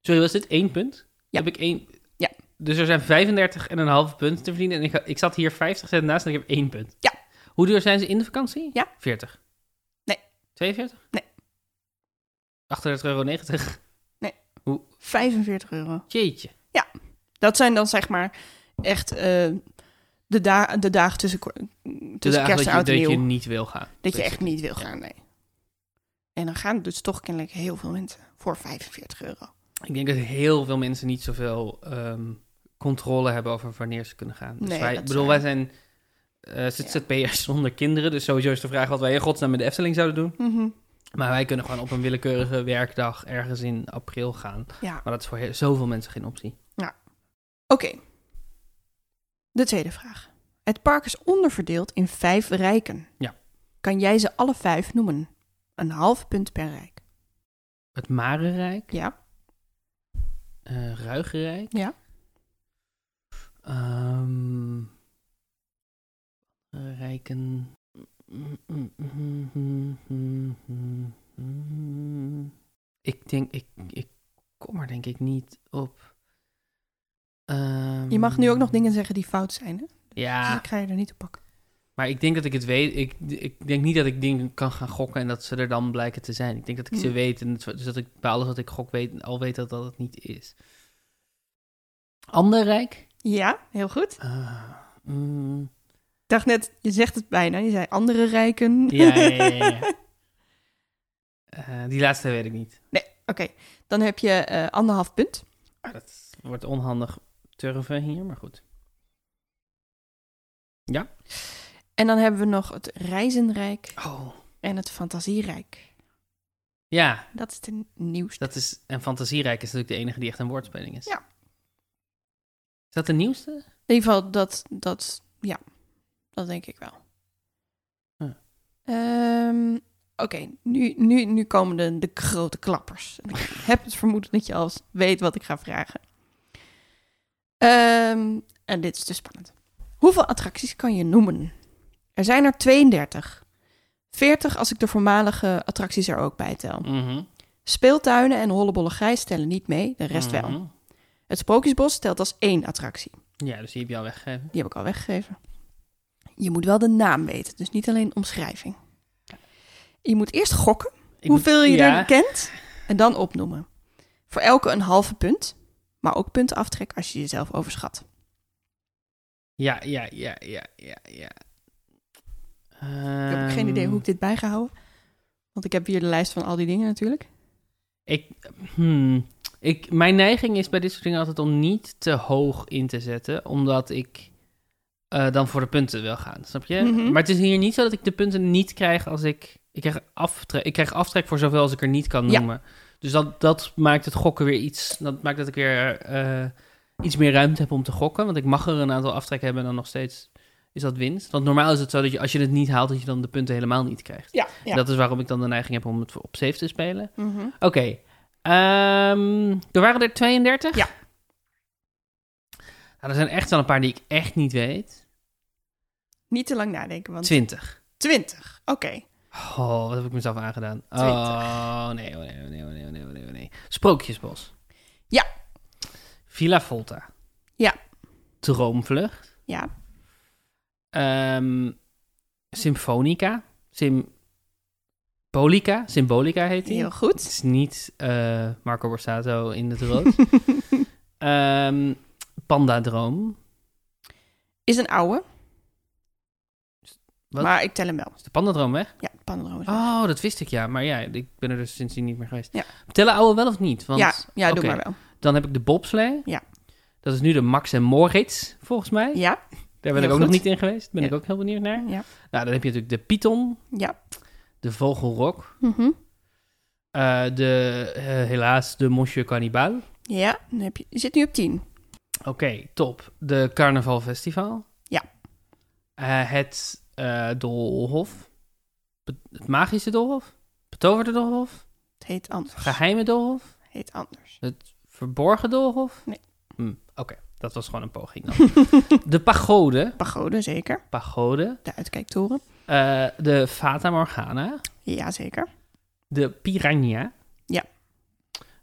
A: Sorry, was dit één punt?
B: Ja.
A: Heb ik één...
B: Ja.
A: Dus er zijn 35,5 punten te verdienen. En ik, ha- ik zat hier 50 cent naast en ik heb één punt.
B: Ja.
A: Hoe duur zijn ze in de vakantie?
B: Ja.
A: 40.
B: Nee.
A: 42?
B: Nee.
A: 38,90 euro.
B: 45 euro.
A: Jeetje.
B: Dat zijn dan zeg maar echt eh, de, da de dagen tussen, ko- tussen
A: Dus eigenlijk
B: kerst en oud
A: dat,
B: en
A: je, dat je
B: nieuw.
A: niet wil gaan.
B: Dat je echt niet wil
A: Ja.
B: gaan, nee. En dan gaan dus toch kennelijk heel veel mensen voor 45 euro.
A: Ik denk dat heel veel mensen niet zoveel ehm, controle hebben over wanneer ze kunnen gaan. Dus
B: Nee,
A: wij,
B: dat is
A: bedoel, wij
B: waar.
A: zijn eh ZZP'ers zonder kinderen. Dus sowieso is de vraag wat wij in godsnaam met de Efteling zouden doen.
B: Mhm.
A: Maar wij kunnen gewoon op een willekeurige werkdag ergens in april gaan.
B: Ja.
A: Maar dat is voor he- zoveel mensen geen optie.
B: Oké. De tweede vraag. Het park is onderverdeeld in vijf rijken.
A: Ja.
B: Kan jij ze alle vijf noemen? Een half punt per rijk.
A: Het Marenrijk,
B: Ja.
A: eh Ruigrijk.
B: Ja.
A: Ehm, rijken. Ik denk, ik, ik kom er denk ik niet op. Ehm,
B: Je mag nu ook nog dingen zeggen die fout zijn, hè? Dus
A: Ja,
B: ik ga je er niet op pakken.
A: maar ik denk dat ik het weet. Ik, ik denk niet dat ik dingen kan gaan gokken en dat ze er dan blijken te zijn. Ik denk dat ik ze
B: Hm.
A: weet en het- dus dat ik bij alles wat ik gok weet, al weet dat dat het niet is. Ander Rijk?
B: Ja, heel goed.
A: Ah,
B: Eh,
A: mm.
B: Ik dacht net, je zegt het bijna. Je zei andere rijken.
A: Ja, ja, ja, ja, ja. Eh, die laatste weet ik niet.
B: Oké, dan heb je eh, anderhalf punt.
A: Dat wordt onhandig turven hier, maar goed.
B: En dan hebben we nog het reizenrijk
A: Oh.
B: en het fantasierijk.
A: Ja,
B: Dat is de nieuwste.
A: dat is, en Fantasierijk is natuurlijk de enige die echt een woordspeling is.
B: Ja.
A: Is dat de nieuwste?
B: In ieder geval, dat, dat, ja, dat denk ik wel.
A: Hm.
B: Ehm, Oké, nu, nu, nu komen de, de grote klappers. En Ik heb het vermoeden dat je al weet wat ik ga vragen. Ehm, en dit is dus spannend. Hoeveel attracties kan je noemen? Er zijn er 32. 40 als ik de voormalige attracties er ook bij tel.
A: Mhm.
B: Speeltuinen en hollebolle grijs tellen niet mee, de rest wel.
A: Mhm.
B: Het Sprookjesbos telt als één attractie.
A: Ja, dus die heb je al weggegeven.
B: Die heb ik al weggegeven. Je moet wel de naam weten, dus niet alleen omschrijving. Je moet eerst gokken
A: Ik
B: hoeveel
A: moet-
B: je
A: ja,
B: er kent en dan opnoemen. Voor elke een halve punt, Maar ook punten aftrek als je jezelf overschat.
A: Ja, ja, ja, ja, ja, ja.
B: Ik heb ook geen
A: Ehm.
B: idee hoe ik dit bijgehouden. Want ik heb hier de lijst van al die dingen natuurlijk.
A: Ik, hmm, ik, mijn neiging is bij dit soort dingen altijd om niet te hoog in te zetten, omdat ik eh, dan voor de punten wil gaan, snap je?
B: Mhm.
A: Maar het is hier niet zo dat ik de punten niet krijg als ik... Ik krijg aftrek, ik krijg aftrek voor zoveel als ik er niet kan
B: Ja.
A: noemen. Dus dat, dat maakt het gokken weer iets... Dat maakt dat ik weer eh, iets meer ruimte heb om te gokken, want ik mag er een aantal aftrekken hebben en dan nog steeds is dat winst. Want normaal is het zo dat je, als je het niet haalt, dat je dan de punten helemaal niet krijgt.
B: Ja, ja.
A: Dat is waarom ik dan de neiging heb om het op safe te spelen. Oké. ehm, er waren er 32?
B: Ja.
A: Nou, er zijn echt wel een paar die ik echt niet weet.
B: Niet te lang nadenken, want...
A: 20.
B: 20. Oké.
A: Oh, wat heb ik mezelf aangedaan?
B: 20.
A: Oh, nee, oh, nee, oh, nee, oh, nee, oh, nee, oh, nee, oh, nee. Sprookjesbos.
B: Ja.
A: Villa Volta.
B: Ja.
A: Droomvlucht.
B: Ja.
A: Ehm Symfonica. Symbolica. Symbolica heet die.
B: Heel
A: Het
B: goed.
A: is niet eh, Marco Borsato in het rood. Ehm Panda Droom.
B: Is een oude.
A: Wat?
B: Maar ik tel hem wel.
A: Is de Panda Droom weg?
B: Ja, Pandroom.
A: Oh, dat wist ik ja. Maar ja, ik ben er dus sindsdien niet meer geweest.
B: Ja.
A: Tellen oude wel of niet? Want
B: ja, ja, doe
A: oké.
B: maar wel.
A: dan heb ik de bobslee.
B: Ja.
A: Dat is nu de Max en Moritz, volgens mij.
B: Ja,
A: Daar ben ik
B: heel
A: ook nog
B: goed.
A: niet in geweest. Ben
B: Ja.
A: ik ook heel benieuwd naar.
B: Ja.
A: Nou, dan heb je natuurlijk de Python,
B: ja.
A: de Vogelrok,
B: Mhm.
A: eh, de, eh, helaas, de Monsieur Cannibal.
B: Ja, dan heb je, je zit nu op 10.
A: Oké, top. De Carnaval Festival.
B: Ja.
A: Eh, het eh, Dolhof. Be- het magische Dolhof. Betoverde Dolhof.
B: Het heet anders.
A: Geheime Dolhof.
B: Het heet anders.
A: Verborgen Dolhof.
B: Nee.
A: Hm, Oké, dat was gewoon een poging dan. de Pagode.
B: Pagode, zeker.
A: Pagode.
B: De uitkijktoren.
A: Eh, de Fata Morgana.
B: Ja, zeker.
A: De Piranha.
B: Ja.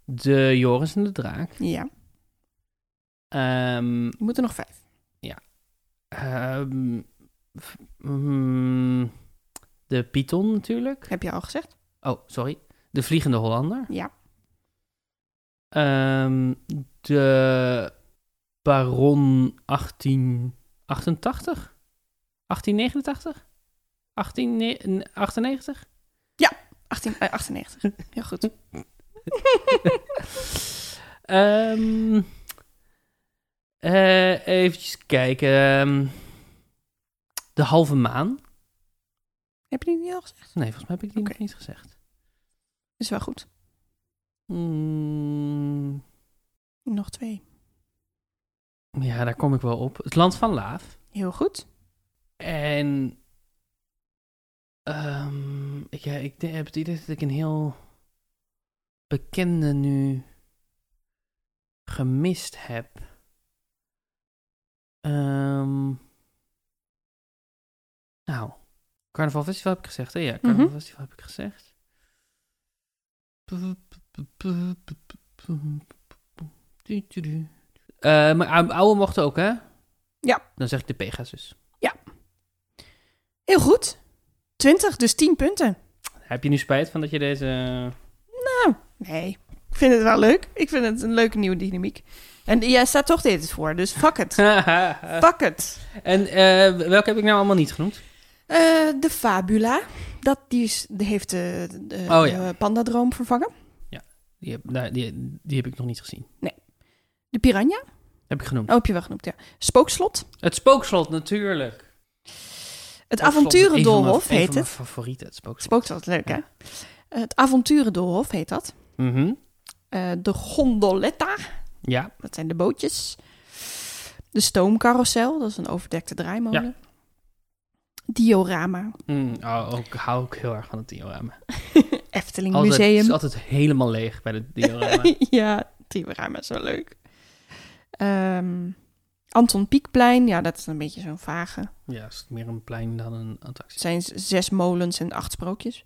A: De Joris en de Draak.
B: Ja.
A: Ehm
B: Je moet er nog vijf.
A: Ehm, f- mm, de Python natuurlijk.
B: Heb je al gezegd?
A: Oh, sorry. De Vliegende Hollander.
B: Ja.
A: Ehm, de Baron 1888? 1889? 1898?
B: 18, eh, 98. Heel goed.
A: Ehm eh, eventjes kijken. Ehm, de Halve Maan.
B: Heb je die niet al gezegd?
A: Nee, volgens mij heb ik die nog
B: Oké.
A: niet gezegd.
B: Is wel goed.
A: Mm,
B: Nog twee.
A: Ja, daar kom ik wel op. Het Land van Laaf.
B: Heel goed.
A: En ehm, ik, ja, ik de- heb het idee dat ik een heel bekende nu gemist heb. Ehm, nou, Carnaval Festival heb ik gezegd, hè? Ja, Carnaval
B: Mhm.
A: Festival heb ik gezegd. Eh, maar ou- oude mocht ook, hè?
B: Ja.
A: Dan zeg ik de Pegasus.
B: Heel goed. 20, dus 10 punten.
A: Heb je nu spijt van dat je deze...
B: Nou, nee. Ik vind het wel leuk. Ik vind het een leuke nieuwe dynamiek. En jij staat toch dit voor, dus fuck it. fuck it.
A: en eh, welke heb ik nou allemaal niet genoemd?
B: Eh, de Fabula. Dat, die is, die heeft de, de,
A: Oh, ja.
B: de pandadroom vervangen.
A: Die heb, nou, die, die heb ik nog niet gezien.
B: De Piranha.
A: Heb ik genoemd.
B: Oh, heb je wel genoemd, ja. Spookslot.
A: Het spookslot, natuurlijk. Spookslot
B: Het
A: is een van mijn-
B: avonturendolhof
A: een
B: heet
A: van mijn
B: het.
A: favorieten, het spookslot.
B: Spookslot, leuk hè? Eh, Het avonturendolhof heet dat.
A: Mhm.
B: Eh, de gondoletta.
A: Ja,
B: Dat zijn de bootjes. De stoomcarousel, dat is een overdekte draaimolen. Diorama,
A: Mm, oh, ook, hou ik heel erg van het diorama.
B: Efteling
A: Altijd, Het
B: Museum.
A: is altijd helemaal leeg bij het diorama.
B: ja, diorama is wel leuk. Ehm, Anton Pieckplein, ja, dat is een beetje zo'n vage.
A: ja, het is meer een plein dan een
B: Het
A: attractie.
B: zijn z- zes molens en acht sprookjes.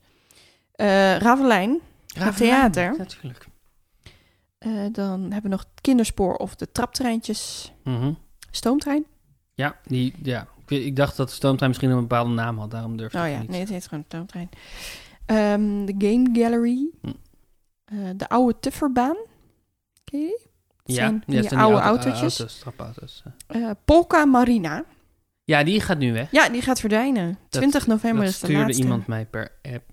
B: Eh Ravelijn,
A: Ravelijn,
B: theater.
A: Natuurlijk.
B: Eh, dan hebben we nog het kinderspoor of de traptreintjes.
A: Mhm.
B: Stoomtrein?
A: Ja, die, ja. Ik, weet- ik dacht dat Stoomtime misschien een bepaalde naam had, daarom durfde
B: Oh
A: ik
B: ja,
A: niet.
B: nee, het heet gewoon stoomtrein. Ehm, de Game Gallery.
A: Hm.
B: Eh, de oude Tufferbaan. Ken je die?
A: ja,
B: Het zijn
A: ja,
B: van
A: het
B: die
A: zijn
B: oude,
A: auto-
B: autootjes.
A: auto's, trapauto's.
B: Eh, Polka Marina.
A: Ja, die gaat nu weg.
B: Ja, die gaat verdwijnen. 20 november
A: dat
B: is de
A: stuurde
B: laatste.
A: iemand mij per app.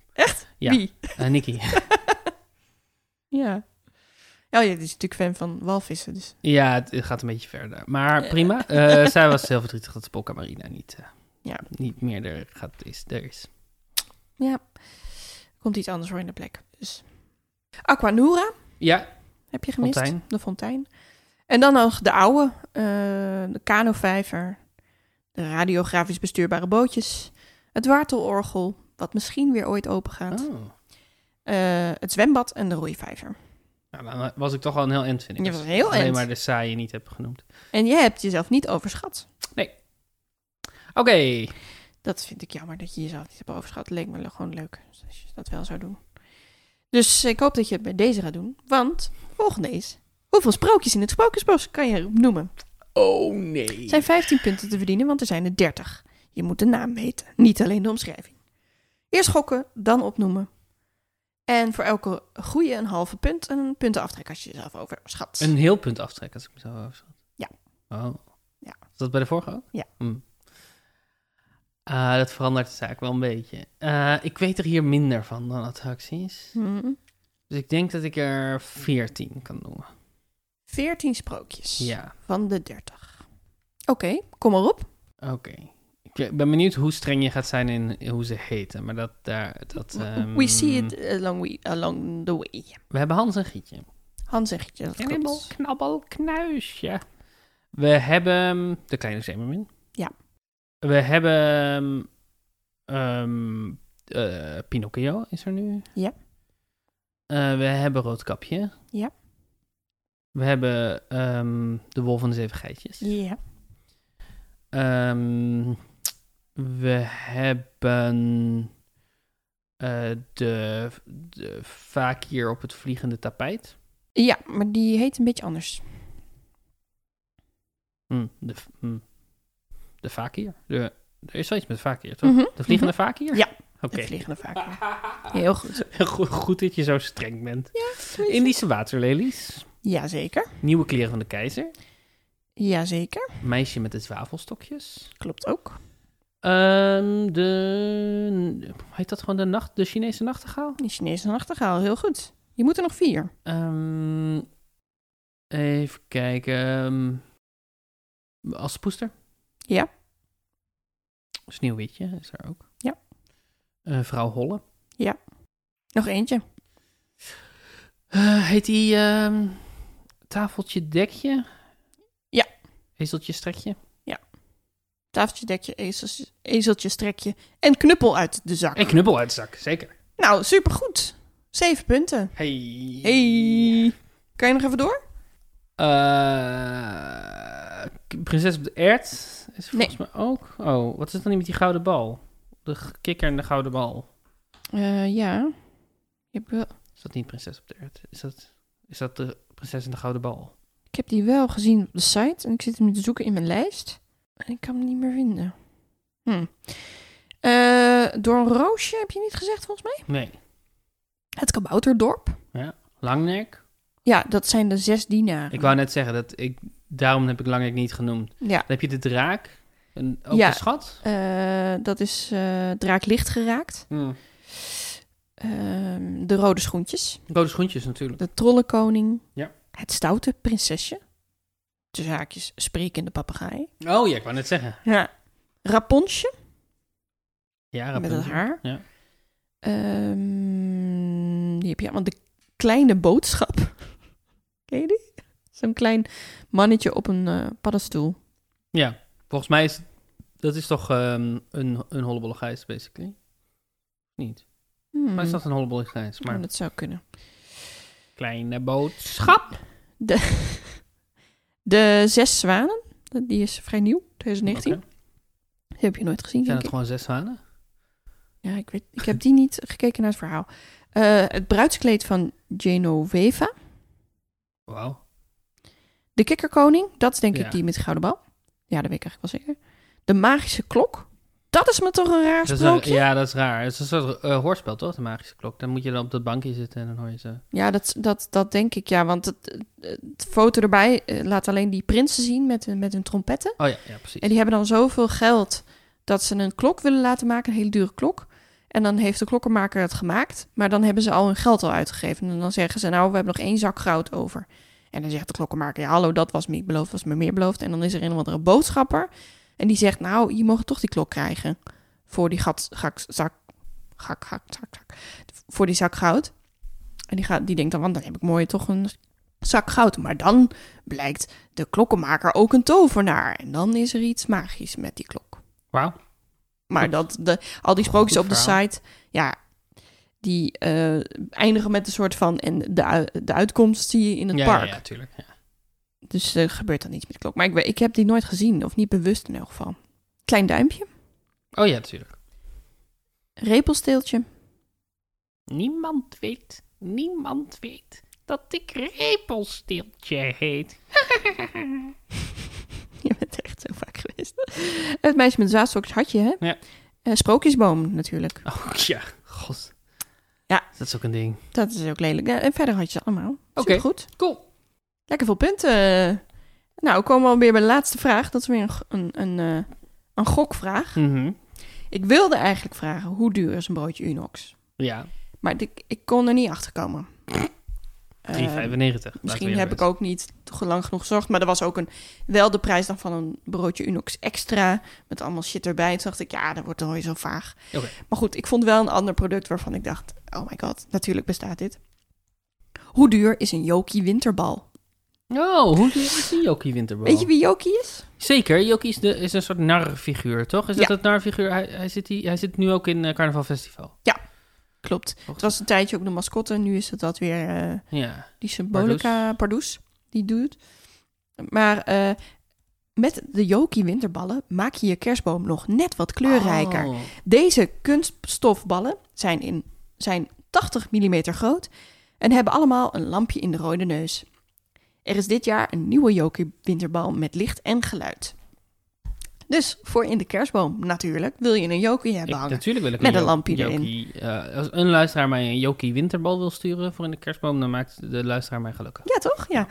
A: Ja.
B: Wie?
A: Eh Nicky.
B: Ja. Oh ja, die is natuurlijk fan van walvissen. Dus.
A: ja, het, het gaat een beetje verder. Maar
B: Eh.
A: prima. Eh, zij was heel verdrietig dat de Polka Marina niet, eh,
B: Ja.
A: niet meer er, gaat, is, er is.
B: Ja. Komt iets anders voor in de plek. Dus. Aquanura
A: Ja,
B: heb je gemist.
A: Fontein.
B: De fontein. En dan nog de oude. eh, de kanovijver. De radiografisch bestuurbare bootjes. Het wartelorgel. Wat misschien weer ooit open gaat.
A: oh.
B: Eh, het zwembad en de roeivijver.
A: Nou, dan was ik toch al een heel end, vind ik.
B: Je
A: Als
B: was
A: ik
B: heel
A: Alleen
B: end.
A: maar de saaie niet heb genoemd.
B: En je hebt jezelf niet overschat.
A: Oké.
B: Dat vind ik jammer dat je jezelf niet hebt overschat. Leek me le- gewoon leuk als je dat wel zou doen. Dus ik hoop dat je het bij deze gaat doen. Want volgende is... Hoeveel sprookjes in het Sprookjesbos kan je noemen?
A: Oh, nee.
B: Er zijn 15 punten te verdienen, want er zijn er 30. Je moet de naam weten, niet alleen de omschrijving. Eerst gokken, dan opnoemen. En voor elke goede een halve punt en een puntenaftrek als je jezelf overschat.
A: Een heel punt aftrekken, als ik me zo overschat.
B: Ja.
A: Oh.
B: Ja.
A: Is dat bij de vorige ook?
B: Ja.
A: Hm. Ah, dat verandert de zaak wel een beetje. Eh, ik weet er hier minder van dan attracties.
B: Hmm.
A: Dus ik denk dat ik er 14 kan noemen.
B: 14 sprookjes
A: Ja,
B: van de 30. Oké, kom maar op.
A: oké. Ik eh, ben benieuwd hoe streng je gaat zijn in hoe ze heten. Maar dat daar... Dat, ehm,
B: We see it along, we, along the way.
A: We hebben Hans en Gietje.
B: Hans zegt je dat
A: Knibbel,
B: klopt.
A: knabbel, knuisje. We hebben ehm, de kleine zeemermin.
B: Ja.
A: We hebben ehm, eh, Pinocchio is er nu.
B: Ja.
A: Eh, we hebben Roodkapje.
B: Ja.
A: We hebben ehm, de Wolf van de Zeven Geitjes.
B: Ja.
A: Ehm, we hebben eh, de, de Fakir op het vliegende tapijt.
B: ja, maar die heet een beetje anders.
A: Hm, de, hm. de fakir. De, er is wel iets met fakir, toch?
B: Mhm.
A: De vliegende fakir?
B: Ja.
A: Oké.
B: De vliegende vaak. Heel goed.
A: goed, goed dat je zo streng bent.
B: In...
A: Indische waterlelies.
B: Jazeker.
A: Nieuwe kleren van de keizer.
B: Jazeker.
A: Meisje met de zwavelstokjes.
B: Klopt ook.
A: Ehm, de... Heet dat gewoon de, nacht, de Chinese nachtegaal?
B: De Chinese nachtegaal, heel goed. Je moet er nog vier.
A: Ehm, even kijken. ehm, Als poester?
B: Ja.
A: Sneeuwwitje is er ook.
B: Ja.
A: Eh, vrouw Holle.
B: Nog eentje.
A: Eh, heet die ehm, tafeltje dekje?
B: Ja.
A: Ezeltje strekje?
B: Tafeltje, dekje, ezeltje, ezeltje, strekje en knuppel uit de zak.
A: En knubbel uit de zak, zeker.
B: Nou, supergoed. Zeven punten.
A: Hey.
B: Hey. Kan je nog even door?
A: Eh, prinses op de ert is er
B: Nee.
A: volgens mij ook. Oh, wat is het dan niet met die gouden bal? De g- kikker en de gouden bal.
B: Eh, ja. Ik heb, wel-
A: Is dat niet prinses op de ert? Is dat, is dat de prinses en de gouden bal?
B: ik heb die wel gezien op de site en ik zit hem nu te zoeken in mijn lijst. En ik kan hem niet meer vinden. Hm. Eh, door een roosje heb je niet gezegd, volgens mij.
A: Nee.
B: Het kabouterdorp.
A: Langnek?
B: Ja, dat zijn de zes dienaren.
A: Ik wou net zeggen, dat ik, daarom heb ik Langnek niet genoemd.
B: Ja,
A: Dan heb je de draak. En ook
B: Ja.
A: de schat.
B: eh, dat is eh, draak licht geraakt.
A: Hmm.
B: Ehm, de rode schoentjes.
A: Rode schoentjes natuurlijk.
B: De Trollenkoning.
A: Ja.
B: Het Stoute Prinsesje. De zaakjes Sprekende Papegaai.
A: Oh ja, ik wou net zeggen.
B: Ja. Raponsje
A: Ja,
B: met
A: Rapunzel.
B: het haar.
A: Ja.
B: Ehm, die heb je allemaal. De Kleine Boodschap. Ken je die? Zo'n klein mannetje op een eh, paddenstoel.
A: Ja, volgens mij is dat is toch ehm, een, een hollebolle gijs, basically. Niet.
B: Hmm,
A: Maar is dat een hollebolle gijs? Maar
B: oh, dat zou kunnen.
A: kleine boodschap.
B: De Zes Zwanen. Die is vrij nieuw, 2019.
A: Oké.
B: Die heb je nooit gezien,
A: Zijn
B: denk
A: het
B: ik.
A: gewoon zes zwanen?
B: Ja, ik, weet, ik heb die niet gekeken naar het verhaal. Eh, het bruidskleed van Genoveva.
A: Wauw.
B: De Kikkerkoning, dat is denk
A: Ja.
B: ik die met de gouden bal. Ja, dat weet ik eigenlijk wel zeker. De Magische Klok. Dat is me toch een raar
A: Dat is
B: sprookje?
A: een- ja, dat is raar. Het is een soort eh, hoorspel, toch? De magische klok. Dan moet je dan op dat bankje zitten en dan hoor je ze.
B: Ja, dat, dat, dat denk ik, ja. Want het, het- het foto erbij eh, laat alleen die prinsen zien met, hun- met hun trompetten.
A: Oh ja, ja precies.
B: En die hebben dan zoveel geld dat ze een klok willen laten maken, een hele dure klok. En dan heeft de klokkenmaker het gemaakt, maar dan hebben ze al hun geld al uitgegeven. En dan zeggen ze, nou, we hebben nog één zak goud over. En dan zegt de klokkenmaker, ja, hallo, dat was me niet beloofd, was me meer beloofd. En dan is er een of andere boodschapper en die zegt, nou, je mag toch die klok krijgen voor die gat, gak, zak, gak, gak, zak, zak, voor die zak goud. En die, gaat, die denkt dan, want dan heb ik mooi toch een zak goud. Maar dan blijkt de klokkenmaker ook een tovenaar. En dan is er iets magisch met die klok.
A: Wauw.
B: Maar
A: Goed.
B: dat, de, al die sprookjes
A: Goed
B: op de
A: verhaal.
B: site, ja, die eh, eindigen met een soort van... en de, ui- de uitkomst zie je in het
A: ja,
B: park.
A: Ja, ja, tuurlijk. Ja.
B: Dus er gebeurt dan iets met de klok. Maar ik, we- ik heb die nooit gezien, of niet bewust in elk geval. Klein duimpje,
A: Oh ja, tuurlijk.
B: repelsteeltje.
A: Niemand weet, niemand weet dat ik repelsteeltje heet.
B: je bent echt zo vaak geweest. Het meisje met de zaadsokjes had je, hè?
A: Ja.
B: Eh, sprookjesboom natuurlijk.
A: Oh ja, god.
B: Ja.
A: Dat is ook een ding.
B: Dat is ook lelijk. Ja, en verder had je ze allemaal.
A: Oké.
B: Oké. goed.
A: Cool.
B: Lekker veel punten. Nou, we komen alweer bij de laatste vraag. Dat is weer een, g- een, een, eh, een gokvraag.
A: Mhm.
B: Ik wilde eigenlijk vragen, hoe duur is een broodje Unox?
A: Ja,
B: Maar ik, ik kon er niet achter komen. Eh,
A: 3,95.
B: misschien heb ik ook niet toch lang genoeg gezorgd. Maar er was ook een, wel de prijs dan van een broodje Unox extra. Met allemaal shit erbij. Toen dacht ik, ja, dat wordt dan weer zo vaag.
A: Oké.
B: Maar goed, ik vond wel een ander product waarvan ik dacht... Oh my god, natuurlijk bestaat dit. Hoe duur is een Joki winterbal?
A: Oh, hoe duur is die Jokie Winterbal?
B: Weet je wie Joki is?
A: Zeker, Jokie is, de, is een soort narfiguur, toch? Is dat
B: Ja.
A: het narfiguur? Hij, hij, zit hier- hij zit nu ook in eh, Carnaval Festival.
B: Klopt. Het was een tijdje ook de mascotte. Nu is het dat weer eh,
A: Ja.
B: die symbolica Pardoes. Die doet. Maar eh, met de Joki winterballen maak je je kerstboom nog net wat kleurrijker.
A: Oh.
B: Deze kunststofballen zijn, in, zijn 80 mm groot en hebben allemaal een lampje in de rode neus. Er is dit jaar een nieuwe Joki winterbal met licht en geluid. Dus voor in de kerstboom natuurlijk wil je een Joki hebben
A: Ik-
B: hangen.
A: natuurlijk wil ik
B: Met
A: jo-
B: een lampje erin.
A: Jokie, eh, als een luisteraar mij een Jokie Winterbal wil sturen voor in de kerstboom, dan maakt de luisteraar mij gelukkig.
B: Ja, toch? Ja.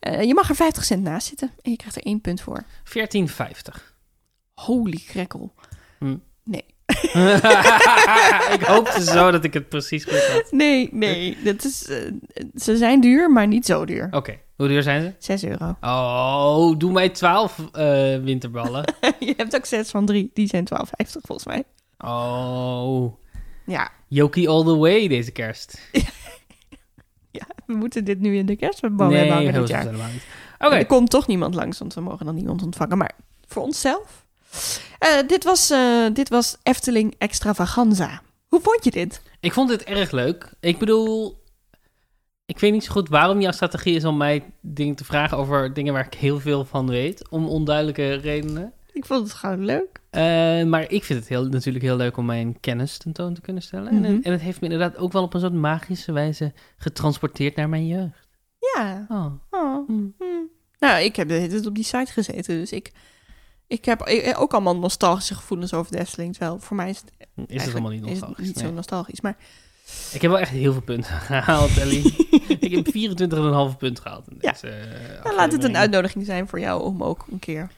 B: Eh, je mag er 50 cent naast zitten en je krijgt er één punt voor.
A: 14,50.
B: Holy crackle.
A: Hm.
B: Nee.
A: ik hoopte zo dat ik het precies goed had.
B: Nee, nee. Dat is, eh, ze zijn duur, maar niet zo duur.
A: Oké, hoe duur zijn ze?
B: 6 euro.
A: Oh, doe mij 12 eh, winterballen.
B: je hebt ook 6 van 3. Die zijn 12,50 volgens mij.
A: Oh,
B: Ja.
A: Yoki all the way deze kerst.
B: ja, we moeten dit nu in de kerstboom
A: nee,
B: hebben hangen
A: heel
B: dit
A: veel
B: jaar.
A: helemaal niet. Oké,
B: Er komt toch niemand langs, want we mogen dan niemand ontvangen. Maar voor onszelf. Eh, dit, was, eh, dit was Efteling Extravaganza. Hoe vond je dit?
A: ik vond dit erg leuk. Ik bedoel, ik weet niet zo goed waarom jouw strategie is om mij dingen te vragen over dingen waar ik heel veel van weet, om onduidelijke redenen.
B: Ik vond het gewoon leuk.
A: Eh, maar ik vind het heel, natuurlijk heel leuk om mijn kennis tentoon te kunnen stellen. En-
B: Mhm.
A: en, het heeft me inderdaad ook wel op een soort magische wijze getransporteerd naar mijn jeugd.
B: Ja.
A: Oh.
B: Oh.
A: hm.
B: Hmm. Nou, ik heb de hele tijd op die site gezeten, dus ik, ik heb eh, ook allemaal nostalgische gevoelens over de Efteling. Terwijl voor mij is het,
A: Is het
B: Mhm. eigenlijk
A: allemaal niet
B: is het
A: nostalgisch?
B: niet
A: nee.
B: zo nostalgisch. Maar
A: Ik heb wel echt heel veel punten gehaald, Ellie. ik heb 24,5 punt gehaald. In
B: Ja.
A: deze, eh,
B: nou, laat het een
A: aflevering.
B: uitnodiging zijn voor jou om ook een keer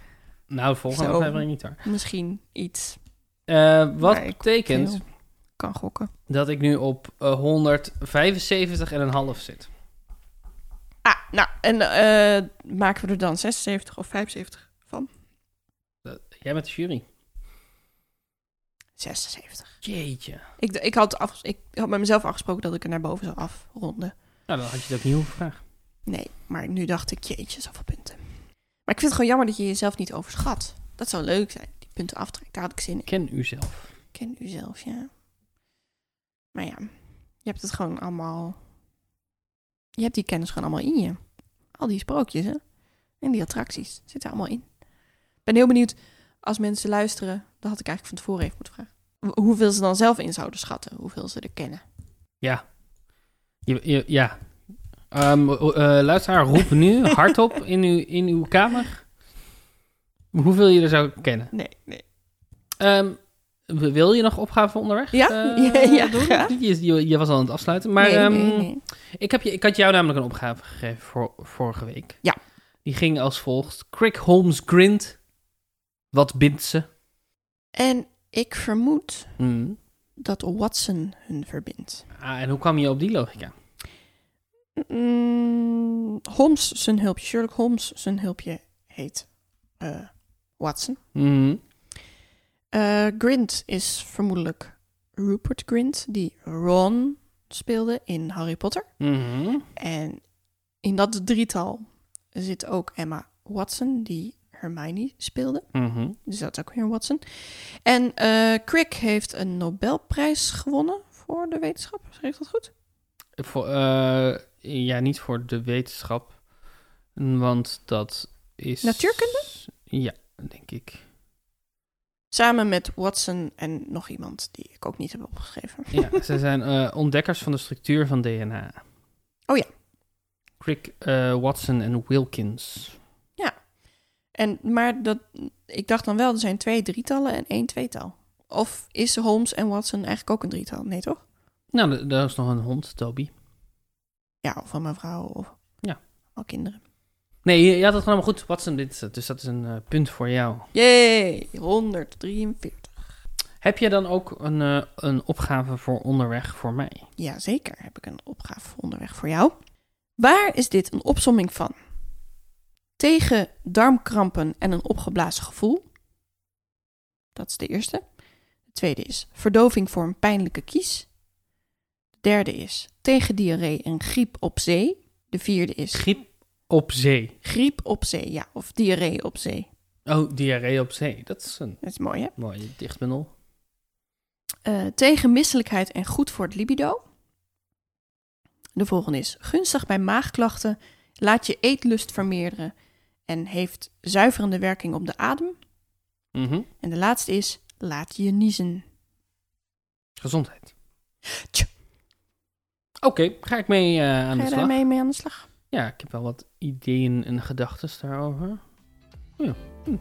A: Nou, de volgende
B: Zo.
A: aflevering niet hoor.
B: misschien iets
A: Eh, wat
B: Maar ik
A: betekent
B: veel kan gokken.
A: dat ik nu op eh, 175,5 zit.
B: Ah, nou, en eh, maken we er dan 76 of 75 van?
A: Dat- jij met de jury.
B: 76.
A: Jeetje.
B: Ik, ik, had af, ik had met mezelf afgesproken dat ik er naar boven zou afronden.
A: Nou, dan had je het ook niet hoeven vragen.
B: Nee, maar nu dacht ik, jeetje, zoveel punten. Maar ik vind het gewoon jammer dat je jezelf niet overschat. Dat zou leuk zijn, die punten aftrekt. Daar had ik zin in.
A: Ken u zelf.
B: Ik ken u zelf, ja. Maar ja, je hebt het gewoon allemaal... Je hebt die kennis gewoon allemaal in je. Al die sprookjes, hè. En die attracties zitten allemaal in. Ik ben heel benieuwd, als mensen luisteren... Dat had ik eigenlijk van tevoren even moeten vragen. Ho- Hoeveel ze dan zelf in zouden schatten. Hoeveel ze er kennen.
A: Je, je- ja. Ehm, eh, luisteraar, roep nu hardop in uw, in uw kamer. Hoeveel je er zou kennen.
B: Nee, nee.
A: Ehm, Wil je nog opgave onderweg?
B: Ja,
A: eh,
B: ja, ja,
A: doen?
B: graag.
A: Je, je, je was al aan het afsluiten. Maar
B: nee,
A: ehm,
B: nee, nee.
A: Ik, heb je, ik had jou namelijk een opgave gegeven voor, vorige week.
B: Ja.
A: Die ging als volgt. Crick Holmes Grind. Wat bindt ze?
B: En ik vermoed
A: Mm.
B: dat Watson hun verbindt.
A: Ah, en hoe kwam je op die logica?
B: Mm, Holmes zijn hulpje, Sherlock Holmes zijn hulpje heet eh, Watson.
A: Mm.
B: Eh Grint is vermoedelijk Rupert Grint, die Ron speelde in Harry Potter.
A: Mhm.
B: En in dat drietal zit ook Emma Watson, die Hermione speelde.
A: Mhm.
B: Dus dat is ook weer een Watson. En eh Crick heeft een Nobelprijs gewonnen voor de wetenschap. Zeg ik dat goed?
A: Voor, eh, ja, niet voor de wetenschap. Want dat is...
B: Natuurkunde?
A: Ja, denk ik.
B: Samen met Watson en nog iemand die ik ook niet heb opgeschreven.
A: Ja, ze zijn eh, ontdekkers van de structuur van DNA.
B: Oh ja.
A: Crick, eh, Watson en Wilkins.
B: En, maar dat, ik dacht dan wel, er zijn twee drietallen en één tweetal. Of is Holmes en Watson eigenlijk ook een drietal? Nee, toch?
A: Nou, d- daar is nog een hond, Toby.
B: Ja, of van mevrouw of
A: Ja.
B: al kinderen.
A: Nee, je, je had het gewoon helemaal goed. Watson dit, is het, dus dat is een eh, punt voor jou.
B: Jee, 143.
A: Heb je dan ook een, eh, een opgave voor onderweg voor mij?
B: Jazeker, heb ik een opgave voor onderweg voor jou. Waar is dit een opsomming van? Tegen darmkrampen en een opgeblazen gevoel. Dat is de eerste. De tweede is verdoving voor een pijnlijke kies. De derde is tegen diarree en griep op zee. De vierde is
A: Griep op zee.
B: griep op zee, ja, of diarree op zee.
A: Oh, diarree op zee. Dat is een
B: Dat is mooi, hè?
A: mooie dichtbundel.
B: Eh, tegen misselijkheid en goed voor het libido. De volgende is gunstig bij maagklachten, laat je eetlust vermeerderen en heeft zuiverende werking op de adem.
A: Mhm.
B: En de laatste is laat je niezen.
A: Gezondheid.
B: Tjoh.
A: Oké, ga ik mee eh, aan
B: Ga
A: de
B: je
A: slag?
B: daarmee mee aan de slag?
A: Ja, ik heb wel wat ideeën en gedachten daarover. Oh ja. Hm.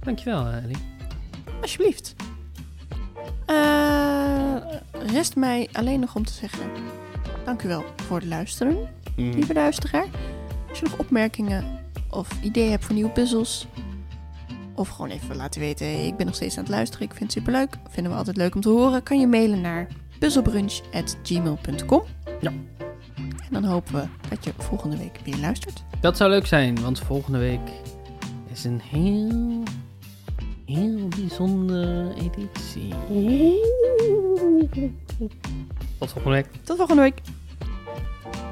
A: Dankjewel, eh, Ellie.
B: Alsjeblieft. Eh, rest mij alleen nog om te zeggen: dank u wel voor het luisteren.
A: Mhm. Hm.
B: lieve luisteraar. Als je nog opmerkingen of ideeën hebt voor nieuwe puzzels. Of gewoon even laten weten, hey, ik ben nog steeds aan het luisteren. Ik vind het superleuk. Vinden we altijd leuk om te horen. Kan je mailen naar puzzelbrunch.gmail.com
A: Ja.
B: En dan hopen we dat je volgende week weer luistert.
A: Dat zou leuk zijn, want volgende week is een heel, heel bijzondere editie. Tot volgende week.
B: Tot volgende week.